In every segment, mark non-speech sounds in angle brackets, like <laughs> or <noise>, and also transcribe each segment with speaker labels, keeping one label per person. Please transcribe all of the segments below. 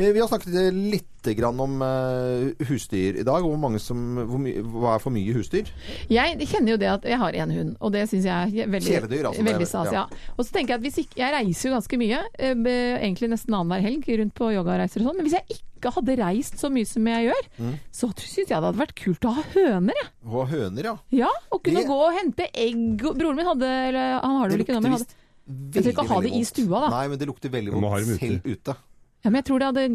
Speaker 1: Eh, Vi har snakket eh, litt grann om eh, husdyr i dag. Hvor mange som, hvor my, hva er for mye husdyr?
Speaker 2: Jeg kjenner jo det at jeg har en hund, og det syns jeg er veldig,
Speaker 1: Kjæledyr, altså, det er-
Speaker 2: veldig stas.
Speaker 1: ja.
Speaker 2: Ja. Og så tenker jeg at hvis ikke, jeg reiser jo ganske mye, eh, be- egentlig nesten annenhver helg rundt på yogareiser og sånn, men hvis jeg ikke hadde reist så mye som jeg gjør, så syns jeg det hadde vært kult å ha høner, jeg.
Speaker 1: Og høner, ja.
Speaker 2: Ja, og kunne
Speaker 1: Det-
Speaker 2: gå og hente egg. og- Broren min hadde, eller han har det vel ikke nå, men hadde
Speaker 1: veldig,
Speaker 2: tenker å ha det i
Speaker 1: veldig vondt.
Speaker 2: stua, da.
Speaker 1: Nei, men det lukter veldig
Speaker 3: må ha
Speaker 1: vondt
Speaker 3: dem ute.
Speaker 1: selv ute.
Speaker 2: ja, men jeg tror, det hadde, jeg,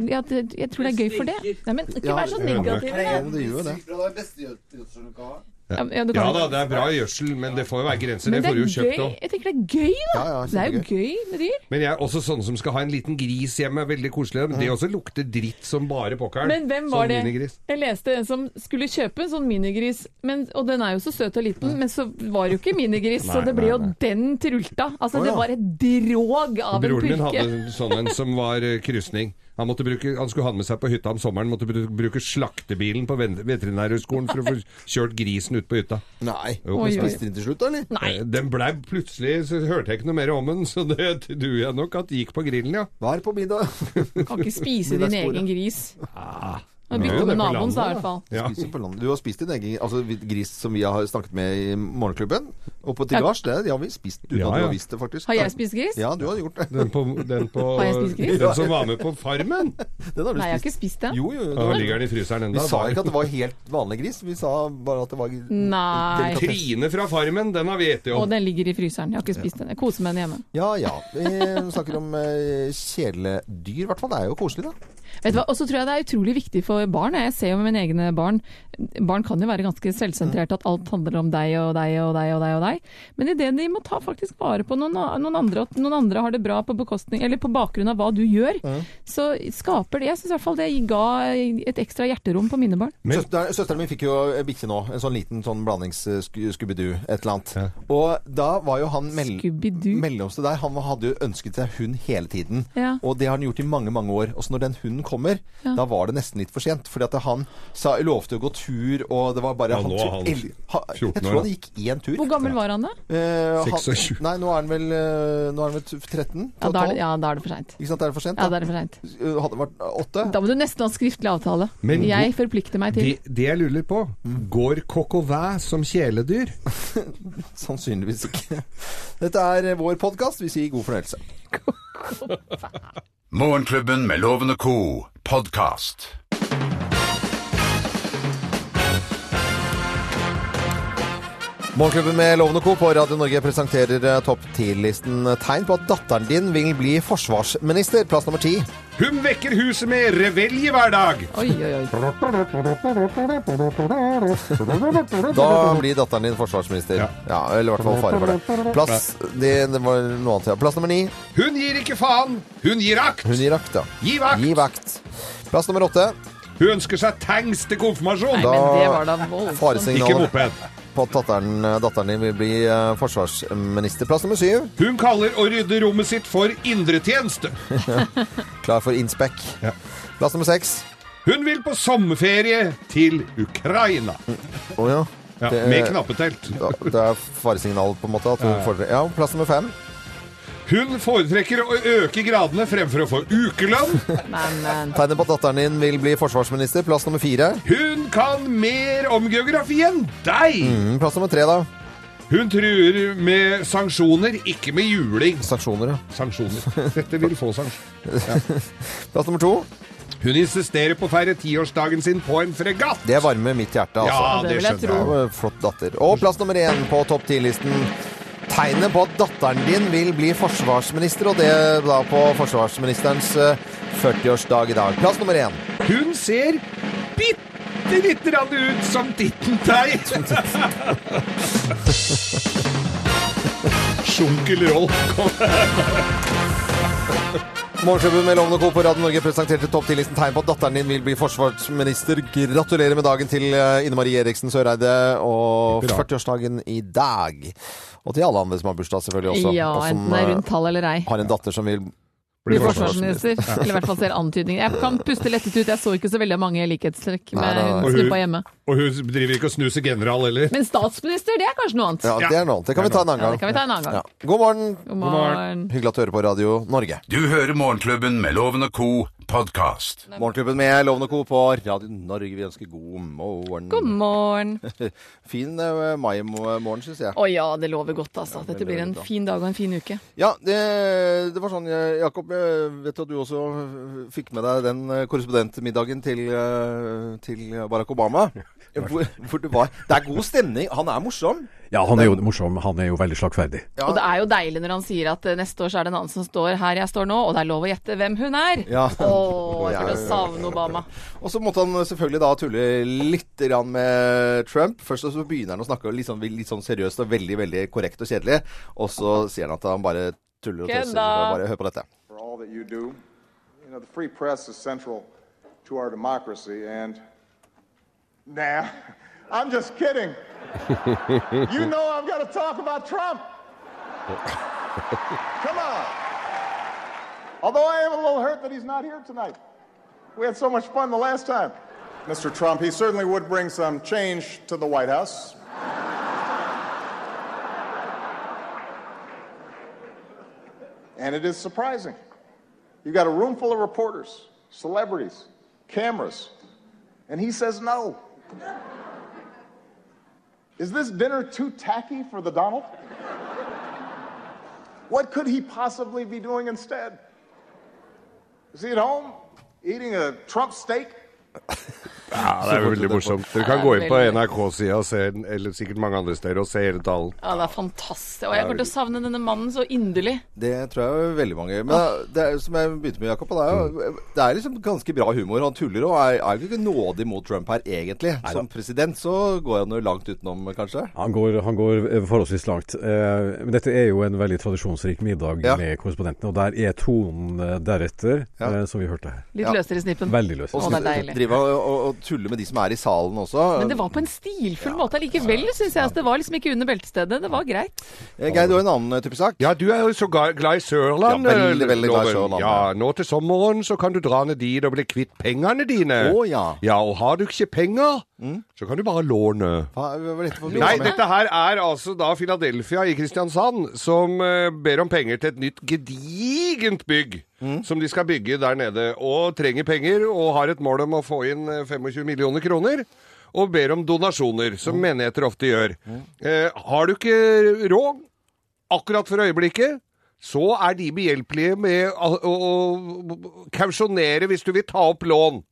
Speaker 2: jeg tror det er gøy for det. Nei, men ikke
Speaker 1: Ja,
Speaker 2: vær så
Speaker 3: høner.
Speaker 2: negativ.
Speaker 1: Ja, men det gjør jo det.
Speaker 2: Ja, ja, du kan
Speaker 3: Ja
Speaker 2: jo-
Speaker 3: da, det er bra gjødsel, men det får jo være grenser.
Speaker 2: Men
Speaker 3: Det
Speaker 2: det
Speaker 3: får du jo
Speaker 2: er
Speaker 3: kjøpt
Speaker 2: gøy.
Speaker 3: òg.
Speaker 2: Jeg tenker det er gøy, da.
Speaker 1: Ja, ja,
Speaker 2: det er jo
Speaker 1: kjempegøy.
Speaker 2: gøy med dyr.
Speaker 3: Men jeg er også sånn som skal ha en liten gris hjemme. Veldig koselig. Men det også lukter dritt som bare pokkeren.
Speaker 2: Men hvem var
Speaker 3: sånn
Speaker 2: det?
Speaker 3: minigris.
Speaker 2: Jeg leste en som skulle kjøpe en sånn minigris, men, og den er jo så søt og liten, men så var det jo ikke minigris, så
Speaker 3: Nei,
Speaker 2: det ble
Speaker 3: nei,
Speaker 2: jo
Speaker 3: nei.
Speaker 2: den trulta. Altså,
Speaker 1: Å,
Speaker 2: det
Speaker 1: ja.
Speaker 2: var et drog av en
Speaker 3: Broren min
Speaker 2: pulke.
Speaker 3: hadde en sånn en som var eh, krysning. Han, måtte bruke, han skulle ha den med seg på hytta om sommeren. Måtte bru- bruke slaktebilen på ven- veterinærhøgskolen for å få kjørt grisen ut på hytta.
Speaker 1: Nei.
Speaker 3: Jo,
Speaker 1: Men
Speaker 2: Oi, oi.
Speaker 1: spiste de til slutt, da, eller?
Speaker 2: Nei.
Speaker 3: Eh, Den blei plutselig Så hørte jeg ikke noe mer om den, så det tror jeg nok at gikk på grillen, ja.
Speaker 1: Hva er det på <laughs> middag?
Speaker 2: Du kan ikke
Speaker 1: <laughs>
Speaker 2: spise din
Speaker 1: Middagsbordet.
Speaker 2: egen gris. Du
Speaker 3: Ah. Nå er
Speaker 2: bytter
Speaker 3: jo
Speaker 2: med
Speaker 3: det på
Speaker 2: naboens, da, i
Speaker 3: landet,
Speaker 2: hvert fall.
Speaker 3: Ja.
Speaker 1: Spiser på landet. Du har spist din egen altså, gris som vi har snakket med i morgenklubben. Og på til gards, det har vi spist uten
Speaker 3: Ja,
Speaker 1: at du
Speaker 3: ja.
Speaker 1: har visst det, faktisk.
Speaker 2: Har jeg spist gris?
Speaker 1: Ja, du har gjort det.
Speaker 3: Den, på, den, på,
Speaker 2: Har jeg spist gris?
Speaker 3: den som var med på Farmen.
Speaker 1: Den har du
Speaker 2: Nei, jeg har
Speaker 1: spist.
Speaker 2: ikke spist det.
Speaker 1: Jo, jo, jo.
Speaker 3: Da
Speaker 1: det var-
Speaker 3: ligger den i fryseren
Speaker 1: Vi
Speaker 3: enda.
Speaker 1: sa ikke at det var helt vanlig gris, vi sa bare at det var
Speaker 2: Nei.
Speaker 3: Trine fra Farmen, den har vi spist
Speaker 2: Og
Speaker 3: om.
Speaker 2: den ligger i fryseren. Jeg har ikke spist den. Jeg koser meg med den hjemme.
Speaker 1: Ja ja. Vi snakker om eh, kjæledyr, i hvert fall. Det er jo koselig, da.
Speaker 2: Vet du hva, Og så tror jeg det er utrolig viktig for barn. Jeg ser jo med mine egne barn Barn kan jo være ganske selvsentrerte, at alt handler om deg og deg og deg og deg. og deg. Men i det de må ta faktisk vare på noen, noen andre, at noen andre har det bra på, bekostning, eller på bakgrunn av hva du gjør, så skaper det Jeg syns i hvert fall det ga et ekstra hjerterom på mine barn.
Speaker 3: Men-
Speaker 1: Søster, søsteren min fikk jo bikkje nå. En sånn liten sånn blandings-Scooby-Doo, et eller annet.
Speaker 3: Ja.
Speaker 1: Og da var jo han mell
Speaker 2: Scooby-Doo.
Speaker 1: mellomste der. Han hadde jo ønsket seg hund hele tiden.
Speaker 2: Ja.
Speaker 1: Og det har han gjort i mange, mange år. Og så når den hunden kommer, da var det nesten litt for sent. Fordi at han sa, lovte å gå tur, og det var bare
Speaker 3: Ja, nå er han
Speaker 1: el- ha- Jeg
Speaker 3: 14
Speaker 1: tror
Speaker 3: år, da.
Speaker 1: han gikk én tur.
Speaker 2: Hvor gammel var han da?
Speaker 1: Eh, han-
Speaker 3: 26.
Speaker 1: Nei, nå er han vel, eh, nå er han vel 13?
Speaker 2: Ja, da er
Speaker 1: 12?
Speaker 2: det, ja, da er det for seint.
Speaker 1: Ikke sant, er det for sent?
Speaker 2: Ja, da er det for sent.
Speaker 1: Eh, Hadde det vært åtte?
Speaker 2: Da må du nesten ha skriftlig avtale.
Speaker 3: Men hvor-
Speaker 2: Jeg forplikter meg til
Speaker 3: Det, det jeg lurer på, går kokk og væ som kjæledyr?
Speaker 1: Sannsynligvis ikke. <laughs> Dette er vår podkast. Vi sier god fornøyelse.
Speaker 4: Morgenklubben med Loven og Co. podkast.
Speaker 1: Morgenklubben med Loven og Co. på Radio Norge presenterer eh, topp 10-listen tegn på at datteren din vil bli forsvarsminister. Plass nummer ti.
Speaker 3: Hun vekker huset med revelje hver dag!
Speaker 2: Oi, oi, oi.
Speaker 1: Da blir datteren din forsvarsminister. Ja. Eller i hvert fall fare for det. Plass det, det var noe annet. Ja. Plass nummer ni.
Speaker 3: Hun gir ikke faen! Hun gir akt!
Speaker 1: Hun gir akt, ja.
Speaker 3: Gi vakt!
Speaker 1: Gi vakt. Plass nummer åtte.
Speaker 3: Hun ønsker seg tanks til konfirmasjon!
Speaker 2: Nei, men det var da voldsomt.
Speaker 3: Ikke
Speaker 1: Faresignaler
Speaker 3: moped.
Speaker 1: på at datteren, datteren din vil bli eh, forsvarsminister. Plass nummer syv.
Speaker 3: Hun kaller å rydde rommet sitt for indretjeneste.
Speaker 1: Klar for inspekk.
Speaker 3: Ja.
Speaker 1: Plass nummer seks.
Speaker 3: Hun vil på sommerferie til Ukraina.
Speaker 1: Å ja.
Speaker 3: Ja,
Speaker 1: Det-
Speaker 3: med knappetelt.
Speaker 1: Da- Det er faresignal, på en måte. At hun får, ja, plass nummer fem.
Speaker 3: Hun foretrekker å øke gradene fremfor å få ukelønn.
Speaker 2: <laughs> Men, men.
Speaker 1: Tegnet på at datteren din vil bli forsvarsminister. Plass nummer fire.
Speaker 3: Hun kan mer om geografi enn deg!
Speaker 1: Mm, plass nummer tre, da.
Speaker 3: Hun truer med sanksjoner, ikke med juling.
Speaker 1: Sanksjoner, ja.
Speaker 3: Sanksjoner. Dette vil få sanksjoner.
Speaker 1: Plass nummer to.
Speaker 3: Hun insisterer på å feire tiårsdagen sin på en fregatt.
Speaker 1: Det varmer mitt hjerte, altså.
Speaker 3: Ja,
Speaker 2: Ja, det
Speaker 3: det
Speaker 2: vil jeg
Speaker 1: Det
Speaker 3: skjønner jeg.
Speaker 1: var en Flott datter. Og plass nummer én på topp ti-listen. Tegnet på at datteren din vil bli forsvarsminister, og det da på forsvarsministerens eh, 40-årsdag i dag. Plass nummer én.
Speaker 3: Hun ser bitte lite grann ut som Ditten Teit. Æsj, onkel Rolf! Kom.
Speaker 1: Morgenklubben med Lovende Co. på Radio Norge presenterte topp 10-listen tegn på at datteren din vil bli forsvarsminister. Gratulerer med dagen til eh, Ine Marie Eriksen Søreide og
Speaker 3: Bra.
Speaker 1: 40-årsdagen i dag. Og til alle andre som har bursdag, selvfølgelig også.
Speaker 2: Ja,
Speaker 1: og som
Speaker 2: enten det er rundt
Speaker 1: eh,
Speaker 2: tall eller ei.
Speaker 1: har en datter som vil
Speaker 2: Blir
Speaker 1: forsvarsminister.
Speaker 2: forsvarsminister. Eller i hvert fall ser antydninger. Jeg kan puste lettet ut, jeg så ikke så veldig mange likhetstrekk med
Speaker 1: nei, nei.
Speaker 2: hun snuppa hjemme.
Speaker 3: Og hun driver ikke og snuser general heller.
Speaker 2: Men statsminister, det er kanskje noe annet.
Speaker 1: Ja, det er noe annet. Det kan vi ta en
Speaker 2: Ja,
Speaker 1: annen
Speaker 2: det kan
Speaker 1: gang.
Speaker 2: vi ta en annen
Speaker 1: Ja.
Speaker 2: gang.
Speaker 1: God morgen.
Speaker 2: God morgen.
Speaker 1: Hyggelig at du hører på Radio Norge.
Speaker 4: Du hører Morgenklubben med Loven og Co. podkast.
Speaker 1: Morgenklubben med Lovende Co. på Radio Norge. Vi ønsker god morgen.
Speaker 2: God morgen.
Speaker 1: Fin eh, mai-morgen, syns jeg.
Speaker 2: Å ja, det lover godt, altså. Dette blir en fin dag og en fin uke.
Speaker 1: Ja, det, det var sånn, eh, Jakob. Jeg vet at du også eh, fikk med deg den eh, korrespondentmiddagen til, eh, til Barack <laughs> Obama. Hvor, hvor det, var, det er god stemning. Han er morsom.
Speaker 5: Ja, han er jo morsom. Han er jo veldig slagferdig.
Speaker 1: Ja.
Speaker 2: Og det er jo deilig når han sier at eh, neste år så er det en annen som står her jeg står nå, og det er lov å gjette hvem hun er.
Speaker 1: Ja.
Speaker 2: Å, jeg kommer til å savne Obama.
Speaker 1: Og så måtte han selvfølgelig da tulle litt grann med Trump. Først så begynner han å snakke litt sånn, litt sånn seriøst og veldig veldig korrekt og kjedelig. Og så sier han at han bare tuller og tøyser.
Speaker 2: Kødda!
Speaker 1: Bare hør på dette.
Speaker 6: for all that you do. You know, the free press is central to our democracy, and. Nah, <laughs> I'm just kidding. you know I've got to talk about Trump. Come on. Although I am a little hurt that he's not here tonight. We had so much fun the last time. Mr. Trump, he certainly would bring some change to the White House. And it is surprising. You've got a room full of reporters, celebrities, cameras, and he says no. Is this dinner too tacky for the Donald? What could he possibly be doing instead? Is he at home eating a Trump steak?
Speaker 3: Ja, det er jo veldig morsomt. Dere kan
Speaker 2: Ja,
Speaker 3: gå inn på
Speaker 2: veldig.
Speaker 3: NRK-sida, og se den, eller sikkert mange andre steder, og se hele talen.
Speaker 2: Ja, det er fantastisk. Og jeg kommer til å savne denne mannen så inderlig.
Speaker 1: Det tror jeg er veldig mange.
Speaker 2: Ah.
Speaker 1: Men det er, som jeg begynte med, Jakob, og det er,
Speaker 2: Mm.
Speaker 1: jo- det er liksom ganske bra humor. Han tuller og er, er jo ikke nådig mot Trump her, egentlig. Som president så går han jo langt utenom, kanskje.
Speaker 5: Han går, han går eh, forholdsvis langt. Eh, men dette er jo en veldig tradisjonsrik middag
Speaker 1: Ja.
Speaker 5: med korrespondentene, og der er tonen eh, deretter,
Speaker 1: Ja.
Speaker 5: eh, som vi hørte her.
Speaker 2: Litt
Speaker 1: Ja.
Speaker 2: løsere i snippen.
Speaker 5: Veldig løs.
Speaker 2: Og Å, det er deilig.
Speaker 1: driver han og, og tuller med de som er i salen også.
Speaker 2: Men det var på en stilfull måte likevel, syns jeg. Altså, det var liksom ikke under beltestedet. Det var greit.
Speaker 1: Eh, Geir, du har en annen type sak.
Speaker 3: Ja, du er jo så ga- glad i Sørland.
Speaker 1: Ja, veldig, veldig glad i
Speaker 3: Loven.
Speaker 1: Sørland, ja.
Speaker 3: Ja, nå til sommeren så kan du dra ned dit og bli kvitt pengene dine.
Speaker 1: Å, ja. Mm.
Speaker 3: Ja, og har du ikke penger, så kan du bare låne.
Speaker 1: Hva hva var dette for
Speaker 3: Nei,
Speaker 1: noe?
Speaker 3: dette her er altså da Philadelphia i Kristiansand som eh, ber om penger til et nytt gedigent bygg som de skal bygge der nede. Og trenger penger og har et mål om å få inn eh, 25 millioner kroner. Og ber om donasjoner, som menigheter ofte gjør. Eh, har du ikke råd akkurat for øyeblikket, så er de behjelpelige med å, å, å kausjonere hvis du vil ta opp lån.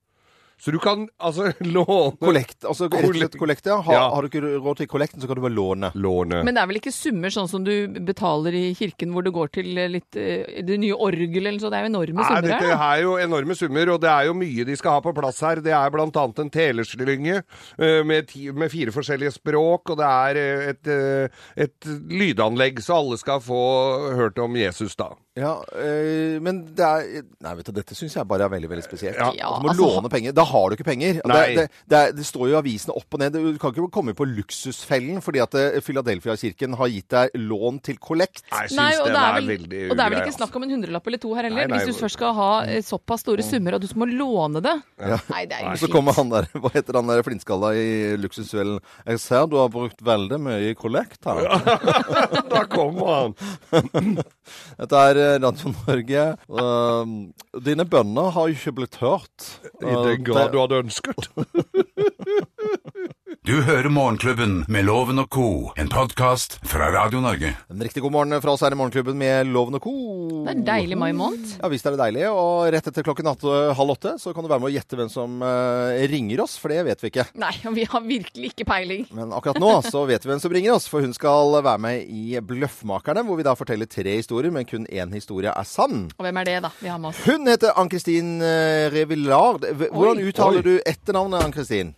Speaker 3: Så du kan altså <laughs> låne
Speaker 1: Kollekt. Altså rett og slett kollekt, ja. Har,
Speaker 3: Ja.
Speaker 1: har du ikke råd til kollekten, så kan du bare låne.
Speaker 3: Lånet.
Speaker 2: Men det er vel ikke summer sånn som du betaler i kirken hvor du går til eh, litt, eh, det nye orgelet eller noe sånt. Det er jo enorme summer
Speaker 3: Nei, dette
Speaker 2: her. da.
Speaker 3: er jo enorme summer, og det er jo mye de skal ha på plass her. Det er bl.a. en teleslynge eh, med, ti- med fire forskjellige språk, og det er eh, et, eh, et lydanlegg, så alle skal få hørt om Jesus, da.
Speaker 1: Ja, øh, men det er Nei, vet du, dette syns jeg bare er veldig veldig spesielt.
Speaker 3: Ja.
Speaker 2: Ja,
Speaker 1: du må
Speaker 2: altså-
Speaker 1: låne penger. Da har du ikke penger. Det,
Speaker 3: Nei.
Speaker 1: det, det, er- det står jo i avisene opp og ned. Du kan ikke komme på luksusfellen fordi at eh, Philadelphia-kirken har gitt deg lån til kollekt.
Speaker 3: Jeg syns
Speaker 2: Nei, og
Speaker 3: den
Speaker 2: det, er
Speaker 3: er,
Speaker 2: vel, og
Speaker 3: veldig
Speaker 2: det er vel
Speaker 3: ugrei,
Speaker 2: ikke snakk om en hundrelapp eller to her heller.
Speaker 3: Nei, nei,
Speaker 2: Hvis du først skal ha eh, såpass store summer at du må låne det. Nei, det er
Speaker 1: Og
Speaker 2: ikke
Speaker 1: så
Speaker 2: fint.
Speaker 1: kommer han der, <laughs> hva heter han der flintskalla i luksusfellen. Jeg ser du har brukt veldig mye i kollekt her.
Speaker 3: altså. Da kommer han!
Speaker 1: Dette er eh, Radio Norge. Eh, dine bønner har jo ikke blitt hørt.
Speaker 3: I
Speaker 1: Eh,
Speaker 3: den grad
Speaker 1: det-
Speaker 3: du hadde ønsket.
Speaker 4: Du hører Morgenklubben med Loven og Co., en podkast fra Radio Norge.
Speaker 1: En riktig god morgen fra oss her i Morgenklubben med Loven og Co.
Speaker 2: Det er en deilig mai måned.
Speaker 1: Ja, visst er det deilig. Og rett etter klokken åtte, halv åtte så kan du være med å gjette hvem som eh, ringer oss, for det vet vi ikke.
Speaker 2: Nei, og vi har virkelig ikke peiling.
Speaker 1: Men akkurat nå
Speaker 2: <laughs>
Speaker 1: så vet vi hvem som ringer oss, for hun skal være med i Bløffmakerne, hvor vi da forteller tre historier, men kun én historie er sann.
Speaker 2: Og hvem er det, da? Vi har med oss.
Speaker 1: Hun heter Ann-Kristin eh, Revillard. Hv- Hvordan
Speaker 2: Oi.
Speaker 3: Oi.
Speaker 1: uttaler du etternavnet, Ann-Kristin?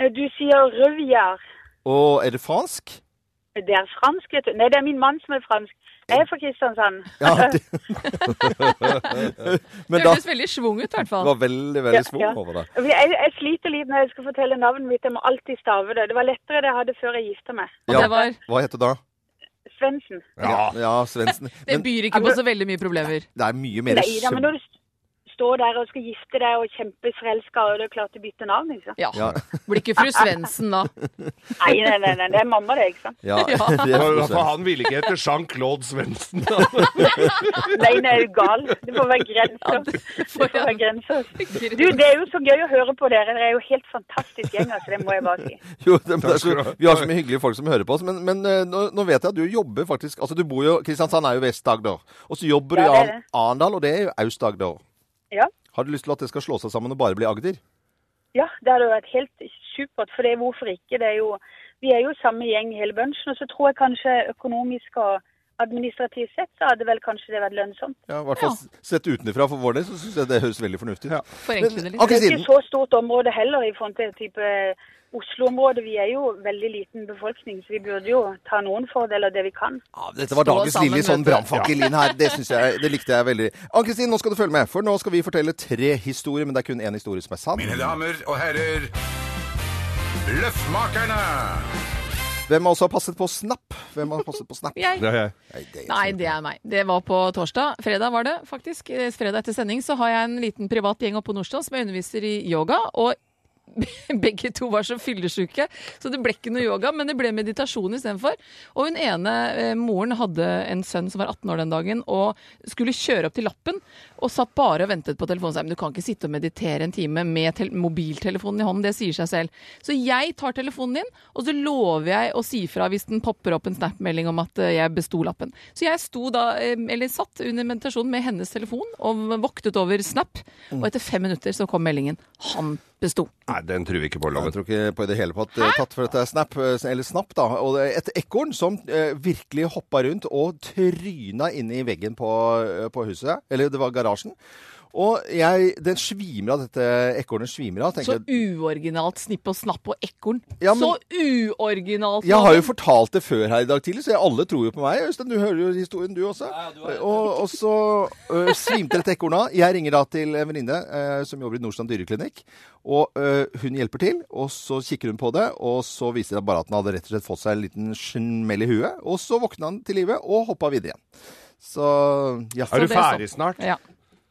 Speaker 7: Eh, Du sier revyer.
Speaker 1: Og er det fransk?
Speaker 7: Det er fransk, vet du. Nei, det er min mann som er fransk. Jeg er fra Kristiansand. <laughs>
Speaker 2: <laughs>
Speaker 1: Ja, det... <laughs> Men
Speaker 2: Det
Speaker 1: da
Speaker 2: hørtes veldig schwung ut, i hvert
Speaker 1: det
Speaker 2: fall.
Speaker 1: var veldig, veldig
Speaker 7: Ja,
Speaker 1: svung
Speaker 7: ja.
Speaker 1: over deg.
Speaker 7: Jeg, jeg sliter litt når jeg skal fortelle navnet mitt. Jeg må alltid stave det. Det var lettere det jeg hadde før jeg gifta meg.
Speaker 2: Og det var
Speaker 1: Hva heter du da?
Speaker 7: Svendsen.
Speaker 3: Ja.
Speaker 1: Ja,
Speaker 7: <laughs>
Speaker 1: Svendsen.
Speaker 2: Det
Speaker 1: Men
Speaker 2: byr ikke på så veldig mye problemer.
Speaker 1: det er mye mer
Speaker 7: Nei da, men når du s- står der og skal gifte deg og kjempeforelska, og det er klart du bytter navn, ikke sant?
Speaker 2: Ja.
Speaker 1: Ja.
Speaker 2: Blir ikke fru Svendsen <laughs> da.
Speaker 7: Nei, nei, nei, nei, det er mamma det, ikke sant? <laughs>
Speaker 1: Ja,
Speaker 2: Ja.
Speaker 1: det er <laughs>
Speaker 3: For, for
Speaker 1: prosent.
Speaker 3: han ville ikke hete Jean-Claude Svendsen.
Speaker 7: Nei, nei, er du gal? Det får være grenser.
Speaker 2: det
Speaker 7: Det
Speaker 2: får
Speaker 7: får være grenser. Du, det er jo så gøy å høre på dere. Dere er jo helt fantastisk gjeng, altså. Det må jeg bare si.
Speaker 1: Jo, det, men det er
Speaker 3: skal du
Speaker 1: så,
Speaker 3: ha.
Speaker 1: vi har så mye hyggelige folk som hører på oss, men, men eh, nå, nå vet jeg at du jobber faktisk Altså, du bor jo Kristiansand er jo Vest-Agder, og så jobber du
Speaker 7: Ja,
Speaker 1: i
Speaker 7: det er
Speaker 1: Arn- Arendal, og det er jo Aust-Agder.
Speaker 7: Ja.
Speaker 1: Har du lyst til at det skal slå seg sammen og bare bli Agder?
Speaker 7: Ja, det hadde vært helt supert. For det, hvorfor ikke? Det er jo, vi er jo samme gjeng hele bunchen. Og så tror jeg kanskje økonomisk og administrativt sett så hadde vel kanskje det vært lønnsomt.
Speaker 1: Ja, i hvert fall
Speaker 2: Ja.
Speaker 1: s- sett utenfra for vår del, så syns jeg det høres veldig fornuftig ut.
Speaker 2: Forenkle det litt.
Speaker 7: Det er
Speaker 1: Ann-Kristin,
Speaker 7: ikke så stort område heller i forhold til type Oslo-området. Vi er jo veldig liten befolkning, så vi burde jo ta noen fordeler det vi kan.
Speaker 1: Ja, dette var
Speaker 2: Stå
Speaker 1: dagens
Speaker 2: sammen,
Speaker 1: lille
Speaker 2: vet
Speaker 1: sånn
Speaker 2: du.
Speaker 1: brannfakkelin her. Det, synes jeg, det likte jeg veldig. Ann-Kristin, nå skal du følge med, for nå skal vi fortelle tre historier, men det er kun én historie som er sann.
Speaker 4: Mine damer og herrer, Løffmakerne!
Speaker 1: Hvem av oss har passet på Snap? Hvem har passet på <laughs> Snap?
Speaker 2: Jeg. Nei, det er meg. Det var på torsdag. Fredag var det, faktisk. Eh, Fredag etter sending så har jeg en liten privat gjeng oppe på Nordstrand som jeg underviser i yoga. og <laughs> begge to var så fyllesyke, så det ble ikke noe yoga, men det ble meditasjon istedenfor. Og hun ene eh, moren hadde en sønn som var 18 år den dagen, og skulle kjøre opp til Lappen, og satt bare og ventet på telefonen. Så jeg, Men du kan ikke sitte og meditere en time med tel mobiltelefonen i hånden, det sier seg selv. Så jeg tar telefonen din, og så lover jeg å si fra hvis den popper opp en Snap-melding om at eh, jeg besto Lappen. Så jeg sto da, eh, eller satt under meditasjonen med hennes telefon og voktet over Snap, og etter fem minutter så kom meldingen. Han besto.
Speaker 3: Nei, den tror vi ikke på,
Speaker 1: Jeg
Speaker 3: Loven.
Speaker 1: tror ikke på det hele tatt eh, tatt for dette er Snap, eh, eller Snap, da. Og det er et ekorn som eh, virkelig hoppa rundt og tryna inn i veggen på, eh, på huset. Eller det var garasjen. Og jeg, den svimer av dette ekornet svimer av.
Speaker 2: Så
Speaker 1: tenker jeg.
Speaker 2: uoriginalt snipp og snapp og ekorn.
Speaker 1: Ja, men-
Speaker 2: så uoriginalt!
Speaker 1: Jeg har jo
Speaker 2: Loven.
Speaker 1: fortalt det før her i dag tidlig, så jeg, alle tror jo på meg. Øystein, du hører jo historien du også. og, og så ø, svimte dette ekornet av. Jeg ringer da til en venninne ø, som jobber i Nordstrand dyreklinikk. Og ø, hun hjelper til, og så kikker hun på det, og så viser det bare at den hadde rett og slett fått seg en liten smell i huet. Og så våkna han til live og hoppa videre igjen. Så ja.
Speaker 3: Er
Speaker 2: det
Speaker 3: du
Speaker 2: så.
Speaker 3: ferdig snart?
Speaker 2: sånn. ja.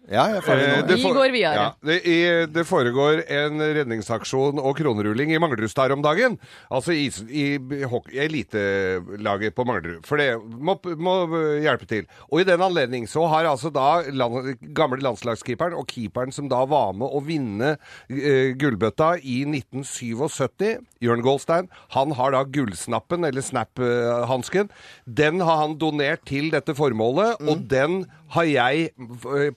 Speaker 1: ja, jeg er ferdig
Speaker 3: Eh,
Speaker 1: nå.
Speaker 3: det
Speaker 2: Vi
Speaker 3: for-
Speaker 2: går videre.
Speaker 3: Ja, det, i, det foregår en redningsaksjon og kronerulling i Manglerudstad her om dagen. Altså i, is- i b- hockey- elitelaget på Manglerud. For det må, må hjelpe til. Og i den anledning så har altså da land, gamle landslagskeeperen og keeperen som da var med å vinne eh, gullbøtta i 1977, Jørn Goldstein, han har da gullsnappen, eller snap-hansken. Den har han donert til dette formålet,
Speaker 2: Mm.
Speaker 3: og den har jeg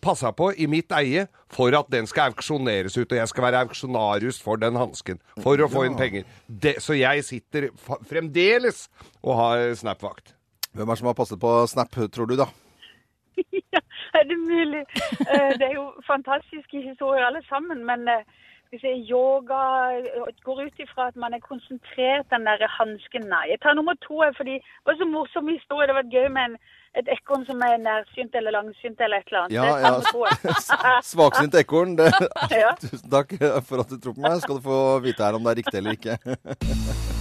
Speaker 3: passa på i mitt eie for at den skal auksjoneres ut. Og jeg skal være auksjonarius for den hansken, for å få inn penger. Det, så jeg sitter fa- fremdeles og har Snap-vakt.
Speaker 1: Hvem er det som har passet på Snap, tror du, da?
Speaker 7: Ja, <laughs> er det mulig? Eh, Det er jo fantastiske historier alle sammen, men eh, hvis jeg yoga eh, går ut ifra at man er konsentrert, den der hansken Nei. Jeg tar nummer to, jeg, fordi det var så morsom historie. Det var gøy med en, et ekorn som er nærsynt eller langsynt eller et eller annet.
Speaker 1: Ja, ja.
Speaker 7: Det tar nummer to, jeg.
Speaker 1: Svaksynt ekorn. Det.
Speaker 7: Ja.
Speaker 1: Tusen takk for at du tror på meg. Skal du få vite her om det er riktig eller ikke.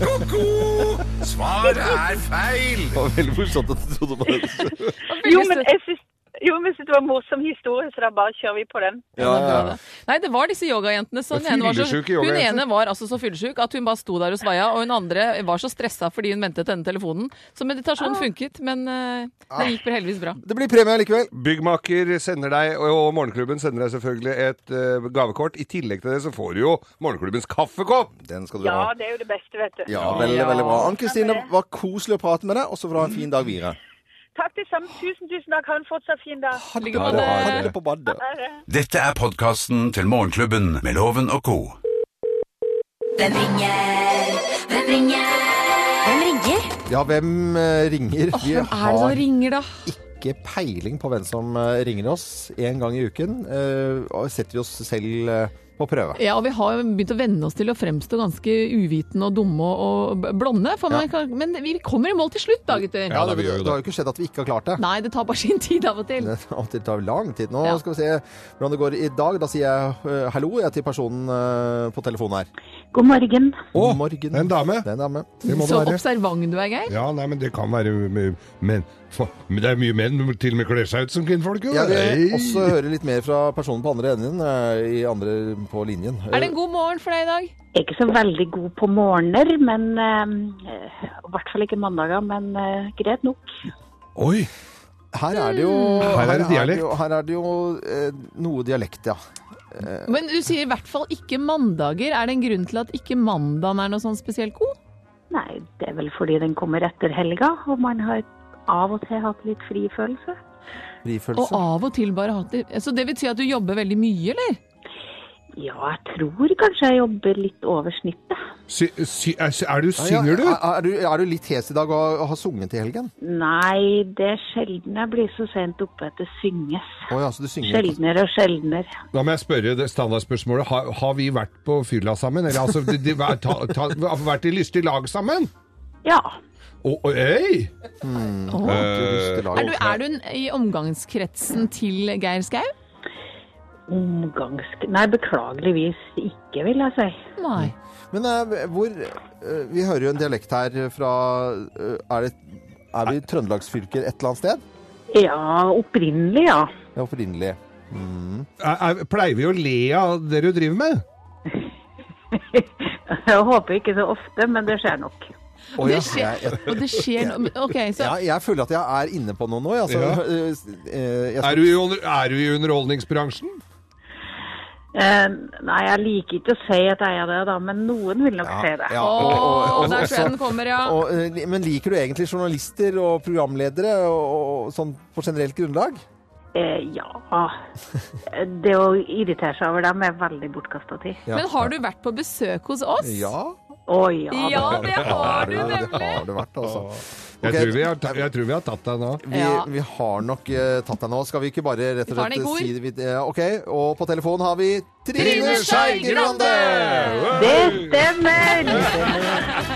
Speaker 4: Ko-ko! Svaret er feil!
Speaker 1: Det var veldig morsomt at du trodde på det.
Speaker 7: Jo, men jeg syns jo, men jeg synes det var en morsom historie, så da bare kjører vi på den.
Speaker 1: Ja, ja.
Speaker 2: Nei, det var disse yogajentene. Så
Speaker 3: Det
Speaker 2: den
Speaker 3: er
Speaker 2: ene var så,
Speaker 3: fyllesjuke
Speaker 2: hun
Speaker 3: yogajenter.
Speaker 2: ene var altså så fyllesyk at hun bare sto der og svaia, og hun andre var så stressa fordi hun ventet denne telefonen. Så meditasjon funket, men eh,
Speaker 1: Ah.
Speaker 2: det gikk vel heldigvis bra.
Speaker 1: Det blir premie likevel.
Speaker 3: Byggmaker sender deg, og og Morgenklubben sender deg selvfølgelig et eh, gavekort. I tillegg til det så får du jo Morgenklubbens kaffekopp.
Speaker 1: Den skal du
Speaker 7: Ja,
Speaker 1: ha.
Speaker 7: det er jo det beste, vet du.
Speaker 1: Ja, veldig, veldig bra. Ann Kristine, var koselig å prate med deg, og så får du ha en fin dag videre.
Speaker 7: Takk det samme. Tusen, tusen takk. Ha en fortsatt fin dag.
Speaker 1: Ha det
Speaker 2: Ligger på
Speaker 1: bra.
Speaker 2: det.
Speaker 1: Ha det på badet.
Speaker 7: Ha det.
Speaker 4: Dette er podkasten til Morgenklubben med Loven og co.
Speaker 8: Hvem ringer? Hvem ringer? Hvem ringer?
Speaker 1: Ja, hvem eh, ringer?
Speaker 2: Åh,
Speaker 1: Vi
Speaker 2: hvem er det som
Speaker 1: har
Speaker 2: ringer, da?
Speaker 1: ikke peiling på hvem som eh, ringer oss en gang i uken. eh, og setter vi oss selv eh, på prøve.
Speaker 2: Ja, og vi har jo begynt å venne oss til å fremstå ganske uvitende og dumme og og blonde. For man kan, men vi kommer i mål til slutt, da, gutter.
Speaker 3: Ja, da, vi
Speaker 1: det,
Speaker 3: gjør jo
Speaker 1: det har jo ikke skjedd at vi ikke har klart det.
Speaker 2: Nei, det tar bare sin tid av og til.
Speaker 1: Det av og til tar lang tid. Nå
Speaker 2: Ja.
Speaker 1: skal vi se hvordan det går i dag. Da sier jeg eh, hallo jeg til personen eh, på telefonen her.
Speaker 7: God morgen.
Speaker 3: Å,
Speaker 1: God morgen.
Speaker 3: en dame.
Speaker 1: Det er en dame.
Speaker 3: Det må det
Speaker 2: Så
Speaker 3: være.
Speaker 2: observant du er, Geir.
Speaker 3: Ja, nei, men det kan være mye menn. For- Men det er mye menn som til og med kler seg ut som kvinnfolk, jo.
Speaker 1: Jeg
Speaker 3: Nei.
Speaker 1: vil også høre litt mer fra personen på andre enden eh, i andre på linjen.
Speaker 2: Er det en god morgen for deg i dag?
Speaker 7: Jeg er ikke så veldig god på morgener, men eh, I hvert fall ikke mandager, men eh, greit nok.
Speaker 3: Oi!
Speaker 1: Her er det jo
Speaker 3: Her er det dialekt.
Speaker 1: jo- Her er det jo eh, noe dialekt, ja.
Speaker 2: Men du sier i hvert fall ikke mandager. Er det en grunn til at ikke mandagen er noe sånn spesielt god?
Speaker 7: Nei, det er vel fordi den kommer etter helga, og man har av og til hatt litt frifølelse.
Speaker 2: Og
Speaker 1: Frifølelse.
Speaker 2: av og til bare hatt det Så det vil si at du jobber veldig mye, eller?
Speaker 7: Ja, jeg tror kanskje jeg jobber litt over snittet.
Speaker 3: Sy, sy, er, er du
Speaker 1: Ja, ja.
Speaker 3: Synger du?
Speaker 1: Er, er du? Er du litt hes i dag og, og har sunget i helgen?
Speaker 7: Nei, det er sjelden jeg blir så sent oppe at det synges.
Speaker 1: Å ja, så du synger ikke.
Speaker 7: Sjeldnere og sjeldnere.
Speaker 3: Da må jeg spørre det standardspørsmålet. Har, har vi vært på fylla sammen? Eller altså, de, de, ta, ta, har vi vært i lystig lag sammen?
Speaker 7: Ja.
Speaker 3: Å, å, øy!
Speaker 2: Åh.
Speaker 1: Du lyster lag.
Speaker 2: Er du, er du en- i omgangskretsen til Geir Skau?
Speaker 7: Omgangsk... Nei, beklageligvis ikke, vil jeg si.
Speaker 2: Nei.
Speaker 1: Men eh, hvor eh, Vi hører jo en dialekt her fra eh, Er, det, er vi i Trøndelagsfylket et eller annet sted?
Speaker 7: Ja, opprinnelig, ja.
Speaker 1: Ja, opprinnelig.
Speaker 3: Er, er, pleier vi å le av det du driver med?
Speaker 7: Jeg håper ikke så ofte, men det skjer nok.
Speaker 1: Å, ja.
Speaker 2: Det skjer-
Speaker 1: Jeg,
Speaker 2: Og det skjer noe OK, så
Speaker 1: jeg, jeg føler at jeg er inne på noe nå. jeg, Altså,
Speaker 3: Ja.
Speaker 1: Eh, s- eh, jeg,
Speaker 3: Er du i, under- er du i underholdningsbransjen?
Speaker 7: Eh, nei, jeg liker ikke å si at jeg er det, da, men noen vil nok si det.
Speaker 1: ja,
Speaker 2: Å,
Speaker 1: og- og- og-
Speaker 2: der tror jeg
Speaker 1: også-
Speaker 2: den kommer, ja.
Speaker 1: og, eh, li- men liker du egentlig journalister og programledere og, og, sånn på generelt grunnlag?
Speaker 7: Eh, ja.
Speaker 1: <laughs>
Speaker 7: Det å irritere seg over dem er veldig bortkasta tid.
Speaker 1: Ja.
Speaker 2: Men har du vært på besøk hos oss?
Speaker 1: Ja,
Speaker 7: Å ja.
Speaker 2: Ja, det har du
Speaker 1: det
Speaker 2: nemlig.
Speaker 1: har det vært, altså.
Speaker 3: Jeg,
Speaker 1: Ok.
Speaker 3: tror vi har, ta- jeg tror vi har tatt deg nå.
Speaker 1: Vi,
Speaker 2: Ja.
Speaker 1: vi har nok eh, tatt deg nå. Skal vi ikke bare rett og
Speaker 2: Vi tar den i
Speaker 1: slett
Speaker 2: kor.
Speaker 1: si det? vi- eh, OK. Og på telefon har vi Trine
Speaker 2: Trine
Speaker 1: Skei
Speaker 2: Skei
Speaker 1: Grande!
Speaker 2: Grande!
Speaker 7: Det stemmer!